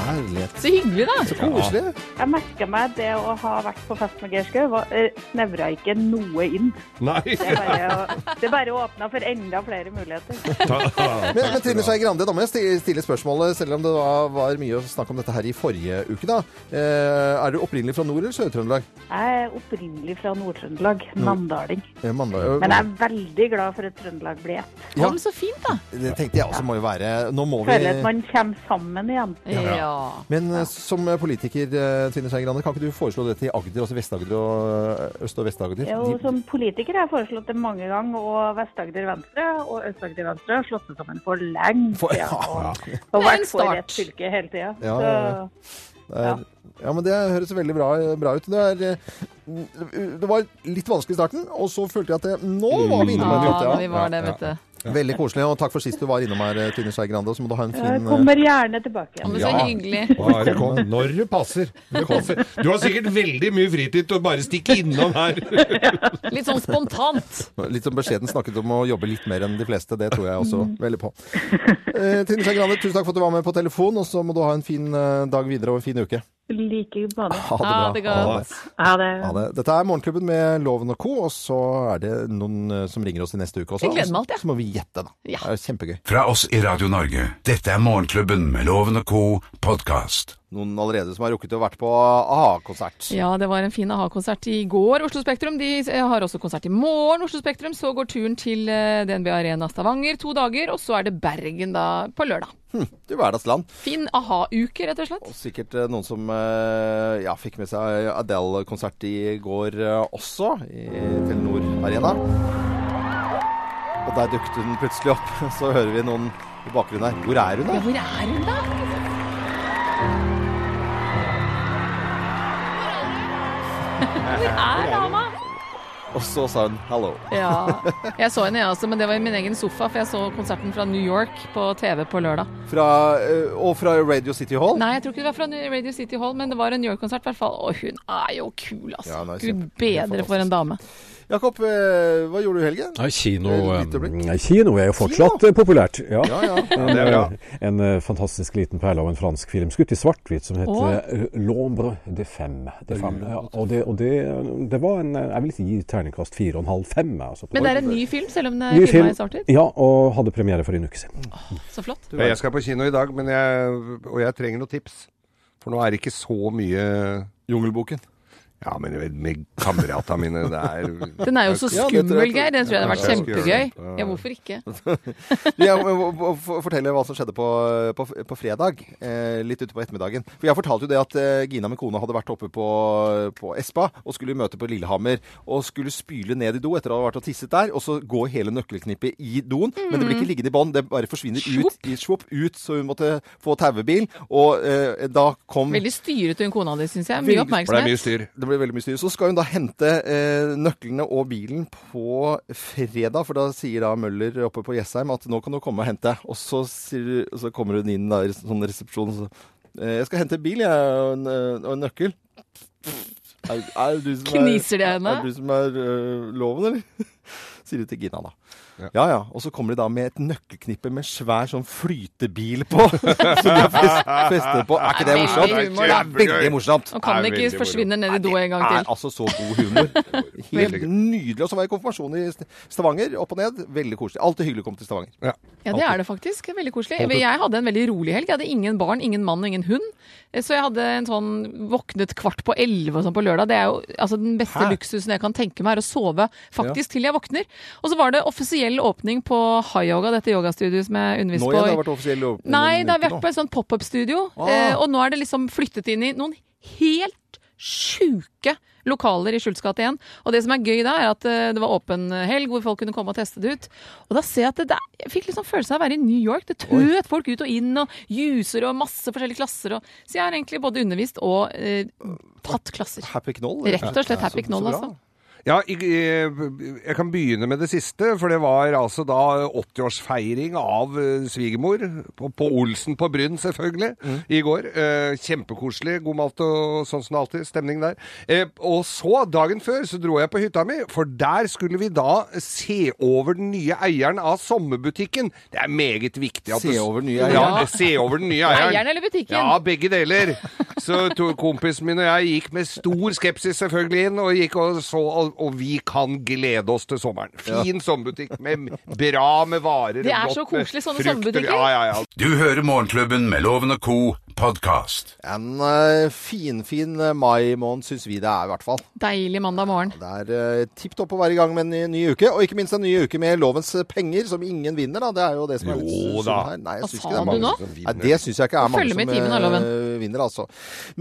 Speaker 1: Herlighet.
Speaker 2: Så hyggelig, da.
Speaker 1: Koselig.
Speaker 7: Jeg merka meg det å ha vært på fest med Geir Skau snevra ikke noe inn.
Speaker 3: Nei!
Speaker 7: Det bare, åpna for enda flere muligheter.
Speaker 1: Men, men Trine Skei Grande, da må jeg sti- stille spørsmålet, selv om det da var mye å snakke om dette her i forrige uke, da. Eh, er du opprinnelig fra Nord- eller Sør-Trøndelag?
Speaker 7: Jeg er opprinnelig fra Nord-Trøndelag, namdaling.
Speaker 1: Eh, Mandal-
Speaker 7: Men jeg er veldig glad for at Trøndelag blir ett.
Speaker 1: Ja.
Speaker 2: Om så fint, da.
Speaker 1: Det tenkte jeg også må jo være Nå må
Speaker 7: Føler at
Speaker 1: vi
Speaker 7: man kommer sammen igjen.
Speaker 2: Ja.
Speaker 1: men eh, som politiker, eh, Trine Skei Grande, kan ikke du foreslå det til Agder, altså Vest-Agder og eh, Øst- og Vest-Agder?
Speaker 7: Jo,
Speaker 1: De-
Speaker 7: som politiker har jeg foreslått det mange ganger, og Vest-Agder Venstre og Øst-Agder Venstre har slått seg sammen for lenge
Speaker 1: For-
Speaker 7: siden.
Speaker 1: Ja.
Speaker 7: Og, og vært
Speaker 2: Det er en
Speaker 7: for
Speaker 2: start.
Speaker 7: rett fylke hele tida.
Speaker 1: Ja, ja, ja. Ja. Eh, ja, men det høres veldig bra, bra ut. Det, er, eh, det var litt vanskelig i starten, og så følte jeg at det, nå var vi inne på et
Speaker 2: Ja,
Speaker 1: rødt,
Speaker 2: vi
Speaker 1: ja.
Speaker 2: var det, vet du.
Speaker 1: Veldig koselig, og takk for sist du var innom her, eh, Trine Skei Grande. Og så må du ha en fin
Speaker 7: Jeg
Speaker 1: eh,
Speaker 7: kommer gjerne tilbake.
Speaker 2: Ja,
Speaker 7: igjen.
Speaker 2: men så
Speaker 3: Ja.
Speaker 2: hyggelig.
Speaker 3: Bare kom når det passer. Det passer. Du har sikkert veldig mye fritid til å bare stikke innom her.
Speaker 2: Litt sånn spontant.
Speaker 1: Litt som beskjeden snakket om å jobbe litt mer enn de fleste. Det tror jeg
Speaker 2: Mm.
Speaker 1: også veldig på. Eh, Trine Skei Grande, tusen takk for at du var med på telefon, og så må du ha en fin eh, dag videre og en fin uke.
Speaker 7: Like bane.
Speaker 1: Ha det bra.
Speaker 2: Ha det godt.
Speaker 7: Ha det.
Speaker 1: Ha det. Dette er Morgenklubben med Loven og co., og så er det noen eh, som ringer oss i neste uke også.
Speaker 2: Jeg gleder meg alt, jeg.
Speaker 1: Så må vi gjette, da.
Speaker 2: Ja.
Speaker 1: Det er kjempegøy.
Speaker 4: Fra oss i Radio Norge, dette er Morgenklubben med Loven og Co. podkast.
Speaker 1: Noen allerede som har rukket å vært på A-konsert.
Speaker 2: Ja, det var en fin a-konsert i går. Oslo Spektrum de eh, har også konsert i morgen. Oslo Spektrum, Så går turen til eh, DNB Arena Stavanger to dager, og så er det Bergen da på lørdag.
Speaker 1: Du hverdagsland.
Speaker 2: Fin aha-uke, rett og slett.
Speaker 1: Og sikkert eh, noen som eh, ja, fikk med seg Adele-konsert i går eh, også, i Telenor Arena. Og der dukket hun plutselig opp. <laughs> Så hører vi noen i bakgrunnen her. Hvor er hun,
Speaker 2: Ja,
Speaker 1: da?
Speaker 2: hvor er hun da? Hvor er dama?
Speaker 1: Og så sa hun 'hello'.
Speaker 2: Ja. Jeg så henne, jeg også, men det var i min egen sofa, for jeg så konserten fra New York på TV på lørdag.
Speaker 1: Fra, eh, og fra Radio City Hall.
Speaker 2: Nei, jeg tror ikke det var fra Radio City Hall, men det var en New York-konsert i hvert fall. Og hun er jo kul, altså.
Speaker 1: Ja, hun er
Speaker 2: Gud
Speaker 1: kjempe-
Speaker 2: bedre for en dame.
Speaker 1: Jakob, eh, hva gjorde du i helgen?
Speaker 5: Nei, kino,
Speaker 1: Et lite blikk.
Speaker 5: eh, nei, kino er jo fortsatt eh, populært. Ja.
Speaker 1: Ja, ja.
Speaker 5: En,
Speaker 3: det er bra.
Speaker 5: eh, <laughs> en eh, fantastisk liten perle av en fransk film, skutt i svart-hvitt, som heter
Speaker 2: Åh.
Speaker 5: eh, L'ombre de femme. De femme. Ja, og det, og det, det var en eh, Jeg vil gi terningkast fire og en halv fem. jeg, Altså, på
Speaker 2: Men det
Speaker 5: den.
Speaker 2: er en ny eh, film, selv om den
Speaker 5: Ny
Speaker 2: er filma i svart-hvitt?
Speaker 5: Ja, og hadde premiere for en uke siden.
Speaker 2: Mm. Så flott.
Speaker 3: Ja, Jeg skal på kino i dag, men jeg, og jeg trenger noen tips. For nå er det ikke så mye
Speaker 1: Jungelboken.
Speaker 3: Ja, men med- med kameratene mine, det er
Speaker 2: Den er jo så
Speaker 1: Ja, det tror jeg-
Speaker 2: skummel, Geir. Den tror jeg hadde vært
Speaker 3: Ja, det tror jeg.
Speaker 2: kjempegøy. Ja, hvorfor ikke?
Speaker 1: Jeg må- må må f- fortelle hva som skjedde på, på, på fredag, eh, litt ute på ettermiddagen. For Jeg fortalte jo det at eh, Gina, min kone, hadde vært oppe på, på Espa og skulle møte på Lillehammer. Og skulle spyle ned i do etter å ha vært og tisset der, og så går hele nøkkelknippet i doen. Men det blir ikke liggende i bånn, det bare forsvinner ut i svopp ut, så hun måtte få tauebil. Og eh, da kom
Speaker 2: Veldig styrete hun kona di, syns jeg. Mye
Speaker 3: For det er mye
Speaker 2: oppmerksomhet.
Speaker 3: styr.
Speaker 1: Det ble veldig mye styr. Så skal hun da hente eh, nøklene og bilen på fredag, for da sier da Møller oppe på Jessheim at nå kan du komme og hente. Og så, sier, så kommer hun inn da i sånn resepsjon og så eh, Jeg skal hente bil, jeg, og en, eh, og en nøkkel. Er, er det du som er-
Speaker 2: Kniser det henne?
Speaker 1: Er det du som er øh, loven, eller? <laughs> Sier de til Gina, da. Ja ja. Og så kommer de da med et nøkkelknippe med svær sånn flytebil på. <laughs> som de har fest, festet på. Er ikke det
Speaker 2: Veldig
Speaker 1: morsomt?
Speaker 2: humor,
Speaker 1: det
Speaker 2: da.
Speaker 1: er veldig morsomt.
Speaker 2: Og kan
Speaker 3: Det er
Speaker 2: ikke
Speaker 3: veldig
Speaker 2: forsvinne ned i do en gang
Speaker 1: Det
Speaker 2: til.
Speaker 1: er altså så god
Speaker 2: <laughs>
Speaker 1: humor.
Speaker 3: Veldig
Speaker 1: Helt
Speaker 3: gøy.
Speaker 1: nydelig. Og så var jeg i konfirmasjon i St- Stavanger, opp og ned. Veldig koselig. Alltid hyggelig å komme til Stavanger.
Speaker 3: Ja.
Speaker 2: Ja, det er det faktisk. Veldig koselig. Jeg hadde en veldig rolig helg. Jeg hadde ingen barn, ingen mann og ingen hund. Eh, Så jeg hadde en sånn våknet kvart på elleve og sånn på lørdag. Det er jo altså, den beste luksusen jeg kan tenke meg, er å sove faktisk til jeg våkner. Og så var det offisiell åpning på Hayoga, dette yogastudioet som jeg
Speaker 1: Nå
Speaker 2: underviste
Speaker 1: igjen,
Speaker 2: på.
Speaker 1: det
Speaker 2: i-
Speaker 1: har vært offisiell åpning.
Speaker 2: Nei, det har
Speaker 1: uke
Speaker 2: vært
Speaker 1: nå.
Speaker 2: på et sånt pop-up-studio. Eh, og nå er det liksom flyttet inn i noen helt sjuke lokaler i Skjults gate 1. Og det som er gøy da, er at eh, det var åpen helg hvor folk kunne komme og teste det ut. Og da ser jeg at det der, jeg fikk liksom følelsen av å være i New York. Det tøt folk ut og inn, og juser og masse forskjellige klasser. Og, så jeg har egentlig både undervist og eh, tatt klasser.
Speaker 1: Happy Knoll.
Speaker 2: Rett og slett Happy Knoll, altså.
Speaker 3: Ja, jeg, jeg kan begynne med det siste, for det var altså da 80-årsfeiring av eh, svigermor. På, på Olsen på Bryn, selvfølgelig,
Speaker 1: Mm.
Speaker 3: i går. Eh, Kjempekoselig. God mat og sånn som alltid. Stemning der. Eh, Og så, dagen før, så dro jeg på hytta mi, for der skulle vi da se over den nye eieren av sommerbutikken. Det er meget viktig at
Speaker 1: Se
Speaker 3: du-
Speaker 1: over den nye eieren.
Speaker 3: Ja, se over den nye eieren.
Speaker 2: Eieren eller butikken?
Speaker 3: Ja, begge deler. Så to, kompisen min og jeg gikk med stor skepsis selvfølgelig inn, og gikk og så, og, og vi kan glede oss til sommeren. Fin sommerbutikk, med, bra med varer.
Speaker 2: Det er
Speaker 3: flott
Speaker 2: så
Speaker 3: med
Speaker 2: koselig, sånne
Speaker 3: frukt og-
Speaker 2: sommerbutikker.
Speaker 3: Ja, ja, ja.
Speaker 4: Du hører Morgenklubben med Loven og Co. podkast.
Speaker 1: En eh, finfin eh, mai-måned syns vi det er, i hvert fall.
Speaker 2: Deilig mandag morgen.
Speaker 1: Det er uh, tipp topp å være i gang med en ny, ny uke. Og ikke minst en ny uke med lovens penger, som ingen vinner, da. Det er jo det som er litt
Speaker 3: Jo
Speaker 1: synd
Speaker 3: da.
Speaker 1: her. Nei, jeg
Speaker 2: Hva
Speaker 1: syns
Speaker 2: sa
Speaker 1: ikke det er
Speaker 2: du
Speaker 1: mange
Speaker 2: nå?
Speaker 1: Nei, det syns jeg ikke er mange
Speaker 2: følge
Speaker 1: som
Speaker 2: med i timen, da,
Speaker 1: eh,
Speaker 2: Loven.
Speaker 1: vinner, altså.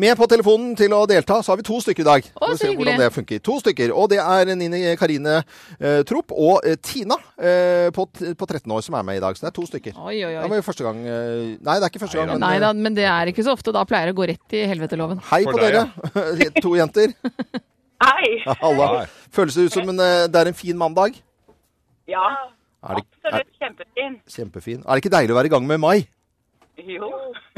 Speaker 1: Med på telefonen til å delta, så har vi to stykker i dag. Får vi
Speaker 2: så
Speaker 1: se
Speaker 2: hyggelig.
Speaker 1: hvordan det funker. To stykker, og det er Nini Karine eh, Tropp og eh, Tina eh, på, t på 13 år som er med i dag. Så det er to stykker.
Speaker 2: Oi, oi,
Speaker 1: Det
Speaker 2: oi.
Speaker 1: var jo første gang eh, Nei, det er ikke første gang, men
Speaker 2: Nei
Speaker 1: eh,
Speaker 2: da, men det er ikke så ofte. Da pleier det å gå rett i helveteloven.
Speaker 1: hei
Speaker 3: For
Speaker 1: på
Speaker 3: deg,
Speaker 1: dere. <laughs> to jenter.
Speaker 7: Hei!
Speaker 1: Halla. Føles det ut som en, eh, det er en fin mandag?
Speaker 7: Ja,
Speaker 1: Er det, er,
Speaker 7: absolutt kjempefin.
Speaker 1: kjempefin. Er det ikke deilig å være i gang med mai?
Speaker 7: Jo.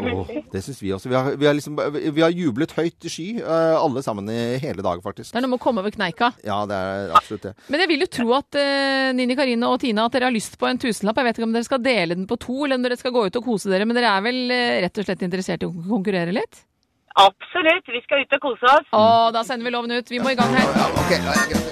Speaker 1: Åh, det syns vi også. Vi har, vi, har liksom, vi har jublet høyt i sky, eh, alle sammen i hele dag, faktisk.
Speaker 2: Det er noe med å komme over kneika.
Speaker 1: Ja, det er absolutt det.
Speaker 2: Men jeg vil jo tro at eh, Nini Karine og Tina at dere har lyst på en tusenlapp. Jeg vet ikke om dere skal dele den på to, eller om dere skal gå ut og kose dere. Men dere er vel eh, rett og slett interessert i å konkurrere litt?
Speaker 7: Absolutt. Vi skal ut og kose oss.
Speaker 2: Å, da sender vi loven ut. Vi må i gang her.
Speaker 1: Ok, ja, ja, greit.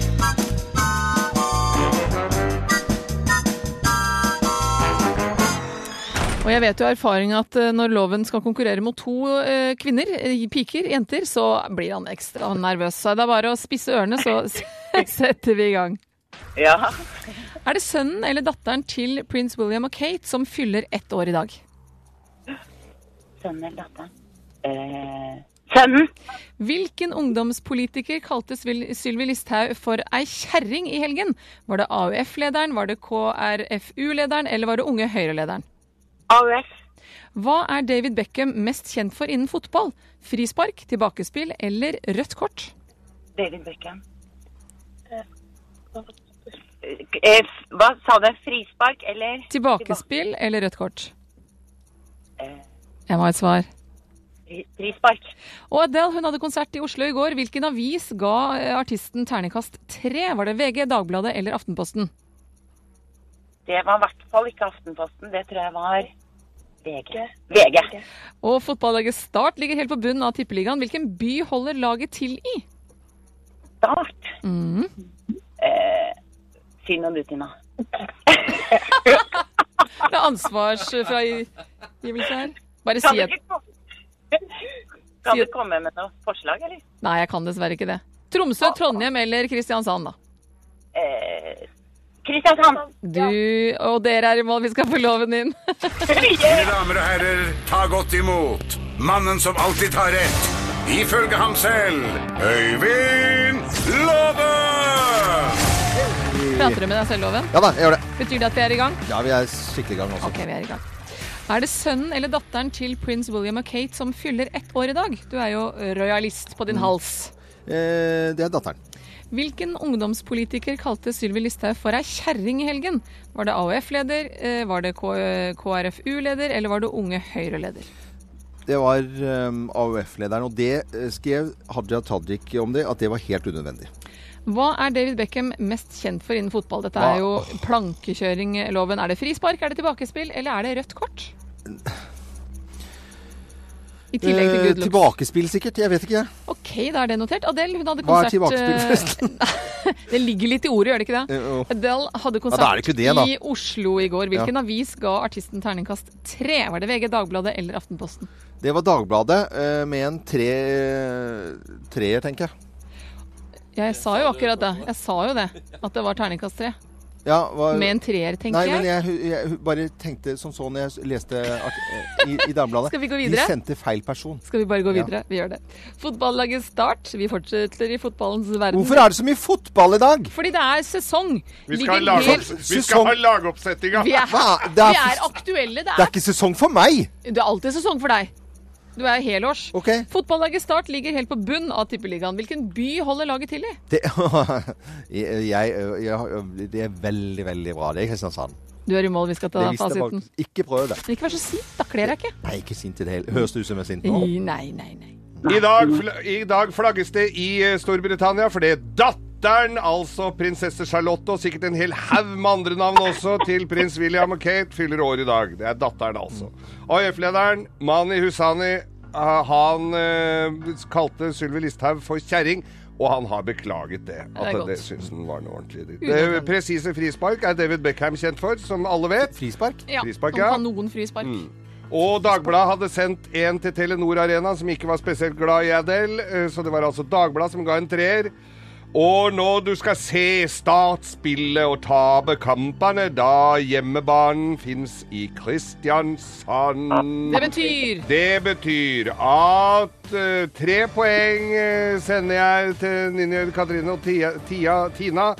Speaker 2: Og jeg vet jo av erfaring at eh, når loven skal konkurrere mot to eh, kvinner, eh, piker, jenter, så blir han ekstra nervøs. Så det er bare å spisse ørene, så <laughs> setter vi i gang.
Speaker 7: Ja.
Speaker 2: Er det sønnen eller datteren til prins William og Kate som fyller ett år i dag?
Speaker 7: Sønnen eller datteren? Eh, sønnen.
Speaker 2: Hvilken ungdomspolitiker kalte Svil- Sylvi Listhaug for ei kjerring i helgen? Var det AUF-lederen, var det KrFU-lederen, eller var det Unge Høyre-lederen?
Speaker 7: AUF.
Speaker 2: Hva er David Beckham mest kjent for innen fotball? Frispark, tilbakespill eller rødt kort?
Speaker 7: David Beckham. Eh, f- Hva sa du? Frispark eller
Speaker 2: Tilbakespill eller rødt kort? Jeg må ha et svar.
Speaker 7: Frispark.
Speaker 2: Og Adele hun hadde konsert i Oslo i går. Hvilken avis ga eh, artisten terningkast tre? Var det VG, Dagbladet eller Aftenposten?
Speaker 7: Det var i hvert fall ikke Aftenposten. Det tror jeg var VG. VG.
Speaker 2: Og fotballaget Start ligger helt på bunnen av tippeligaen. Hvilken by holder laget til i?
Speaker 7: Start.
Speaker 9: Mm.
Speaker 7: Eh, si noe du, Tina.
Speaker 2: Det er ansvarsfragivelse her. Bare
Speaker 7: Kan
Speaker 2: si
Speaker 7: du
Speaker 2: at
Speaker 7: ikke komme- Kan
Speaker 2: Si
Speaker 7: du
Speaker 2: at-
Speaker 7: komme med noe forslag, eller?
Speaker 2: Nei, jeg kan dessverre ikke det. Tromsø, Trondheim eller Kristiansand, da.
Speaker 7: Eh, Kristiansand.
Speaker 2: Du og dere er i mål, vi skal få loven inn.
Speaker 4: Mine damer og herrer, ta godt imot mannen som alltid tar rett, ifølge ham selv, Øyvind Låve!
Speaker 2: Prater du med deg selv, Loven?
Speaker 1: Ja da, jeg gjør det.
Speaker 2: Betyr det at vi er i gang?
Speaker 1: Ja, vi er skikkelig i gang også.
Speaker 2: Ok, vi er i gang. Er det sønnen eller datteren til prins William og Kate som fyller ett år i dag? Du er jo royalist på din hals.
Speaker 1: Eh, det er datteren.
Speaker 2: Hvilken ungdomspolitiker kalte Sylvi Listhaug for ei kjerring i helgen? Var det AUF-leder, eh, var det K- KrFU-leder, eller var det Unge Høyre-leder?
Speaker 1: Det var ehm, AUF-lederen, og det eh, skrev Hadia Tajik om det, at det var helt unødvendig.
Speaker 2: Hva er David Beckham mest kjent for innen fotball? Dette er jo plankekjøringloven. Er det frispark, er det tilbakespill, eller er det rødt kort? I tillegg til
Speaker 1: Eh,
Speaker 2: good looks.
Speaker 1: tilbakespill, sikkert. Jeg vet ikke, jeg.
Speaker 2: Ok, da er det notert. Adele, hun hadde
Speaker 1: Hva er
Speaker 2: konsert
Speaker 1: tilbakespill,
Speaker 2: eh, <laughs>
Speaker 1: forresten?
Speaker 2: Det ligger litt i ordet, gjør det ikke det?
Speaker 1: Eh, jo.
Speaker 2: Adele hadde
Speaker 1: Ja, da er
Speaker 2: konsert
Speaker 1: det ikke det, da.
Speaker 2: i Oslo i går. Hvilken avis ga artisten terningkast tre? Var det VG, Dagbladet eller Aftenposten?
Speaker 1: Det var Dagbladet eh, med en tre, treer, tenker jeg.
Speaker 2: Jeg sa jo akkurat det. Jeg sa jo det. At det var terningkast tre.
Speaker 1: Ja, var,
Speaker 2: Med en treer, tenker
Speaker 1: Nei, men jeg,
Speaker 2: jeg.
Speaker 1: hu- jeg hu- bare tenkte som så når jeg leste art eh, i, i Dagbladet.
Speaker 2: <laughs> Skal vi gå videre?
Speaker 1: De sendte feil person.
Speaker 2: Skal vi bare gå videre? Vi gjør det. Fotballaget Start. Vi fortsetter i fotballens verden.
Speaker 1: Hvorfor er det så mye fotball i dag?
Speaker 2: Fordi det er sesong.
Speaker 3: Vi
Speaker 2: Ligger
Speaker 3: skal, lage
Speaker 2: helt-
Speaker 3: opp, vi skal ha lagoppsettinga!
Speaker 2: Vi er,
Speaker 1: Hva? Det
Speaker 2: vi
Speaker 1: er-
Speaker 2: er aktuelle. Det
Speaker 1: Det er
Speaker 2: er,
Speaker 1: ikke sesong for meg!
Speaker 2: det er alltid sesong for deg. Du er helårs.
Speaker 1: Ok.
Speaker 2: Fotballaget Start ligger helt på bunn av Tippeligaen. Hvilken by holder laget til i?
Speaker 1: <laughs> Det, jeg, jeg, jeg, det er veldig, veldig bra. Det er Kristiansand.
Speaker 2: Du er i mål, vi skal ta
Speaker 1: Det visste jeg
Speaker 2: fasiten.
Speaker 1: faktisk. Ikke prøv det.
Speaker 2: Men ikke vær så sint, da kler jeg ikke.
Speaker 1: Nei, ikke sint i det hele Høres det ut som jeg er sint
Speaker 2: <laughs>
Speaker 1: nå?
Speaker 2: I- Nei, nei, nei.
Speaker 3: I dag, fl- I dag flagges det i eh, Storbritannia fordi datteren, altså prinsesse Charlotte, og sikkert en hel haug med andre navn også, til prins William og Kate, fyller år i dag. Det er datteren, altså. AUF-lederen Mani Hussani, eh, han eh, kalte Sylvi Listhaug for kjerring. Og han har beklaget det.
Speaker 2: Det
Speaker 3: At
Speaker 2: er
Speaker 3: det,
Speaker 2: godt.
Speaker 3: syns han var noe ordentlig dritt.
Speaker 2: Unødvendig.
Speaker 3: Det Presise frispark er David Beckham kjent for, som alle vet.
Speaker 1: Frispark? Mm.
Speaker 2: Ja,
Speaker 3: Frispark,
Speaker 2: han
Speaker 3: ja.
Speaker 2: har noen frispark.
Speaker 3: Og Dagbladet hadde sendt en til Telenor Arena som ikke var spesielt glad i Adele, eh, så det var altså Dagbladet som ga en treer. Og når du skal se Start spille og tape kampene, da hjemmebanen fins i Kristiansand.
Speaker 2: Det betyr
Speaker 3: Det betyr at eh, tre poeng eh, sender jeg til Ninja Katrine og Tia, Tia, Tina.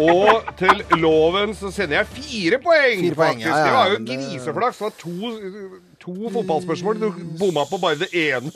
Speaker 3: Og til loven så sender jeg fire poeng,
Speaker 1: Fire poeng,
Speaker 3: faktisk.
Speaker 1: ja, ja,
Speaker 3: det var jo
Speaker 1: men det-
Speaker 3: griseflaks. Det var to, to fotballspørsmål. Du bomma på bare det ene.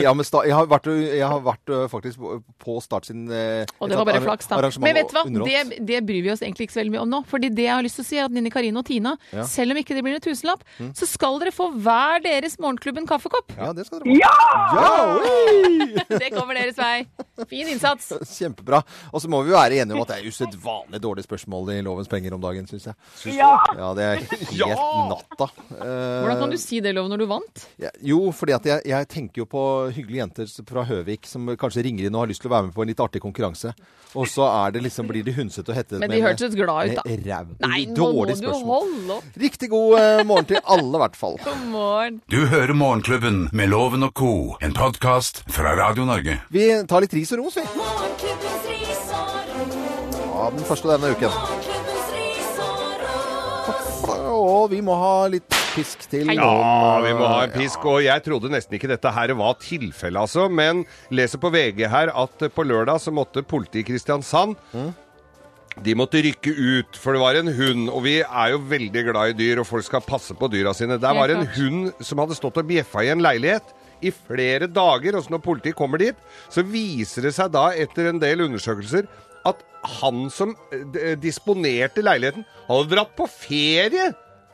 Speaker 1: Ja, men sta, jeg har vært, jeg har vært øh, faktisk på- på Start sin eh, et
Speaker 2: Og det var bare
Speaker 1: arra-
Speaker 2: flaks, da.
Speaker 1: arrangement
Speaker 2: Men vet du hva,
Speaker 1: og underholdt.
Speaker 2: det, det bryr vi oss egentlig ikke så veldig mye om nå. Fordi det jeg har lyst til å si, er at Nini Karine og Tina,
Speaker 1: Ja. Mm.
Speaker 2: selv om ikke det blir en tusenlapp, så skal dere få hver deres Morgenklubben
Speaker 1: <laughs>
Speaker 2: kaffekopp.
Speaker 1: Ja, det skal dere få. Ja! oi! <laughs>
Speaker 2: Det kommer deres vei. Fin innsats.
Speaker 1: Kjempebra. Og så må vi jo være enige om at det er usedvanlig dårlige spørsmål i Lovens penger om dagen, syns jeg.
Speaker 7: Ja!
Speaker 1: Ja, det er helt
Speaker 3: Ja!
Speaker 1: natta. Eh,
Speaker 2: Hvordan kan du si det, Lov, når du vant?
Speaker 1: Ja, jo, fordi at jeg, jeg tenker jo på hyggelige jenter s- fra Høvik som kanskje ringer inn og har lyst til å være med på en litt artig konkurranse. Og så er det liksom, blir de hunsete og hette.
Speaker 2: Men de hørtes glad ut, da.
Speaker 1: Ræv.
Speaker 2: Nei, nå må
Speaker 1: Dårlig
Speaker 2: du
Speaker 1: spørsmål.
Speaker 2: holde opp.
Speaker 1: Riktig god eh, morgen til alle, i hvert fall.
Speaker 2: God morgen.
Speaker 4: Du hører Morgenklubben med Loven og Co., en podkast fra Radio Norge.
Speaker 1: Vi tar litt ris og ros, vi.
Speaker 8: Morgenklubbens ris og ros.
Speaker 1: Ja, den første denne uken.
Speaker 8: Morgenklubbens ris og ros.
Speaker 1: Og vi må ha litt pisk til.
Speaker 2: Hei.
Speaker 3: Ja,
Speaker 1: noen,
Speaker 3: Ah, vi må ha en
Speaker 1: eh,
Speaker 3: pisk. Og jeg trodde nesten ikke dette her var tilfellet, altså. Men leser på VG her at eh, på lørdag så måtte politiet i Kristiansand De måtte rykke ut, for det var en hund. Og vi er jo veldig glad i dyr, og folk skal passe på dyra sine. Der
Speaker 2: Helt
Speaker 3: var en
Speaker 2: klart.
Speaker 3: hund som hadde stått og bjeffa i en leilighet i flere dager. Og så når politiet kommer dit, så viser det seg da etter en del undersøkelser eh, at han som eh, d- disponerte leiligheten, hadde dratt på ferie!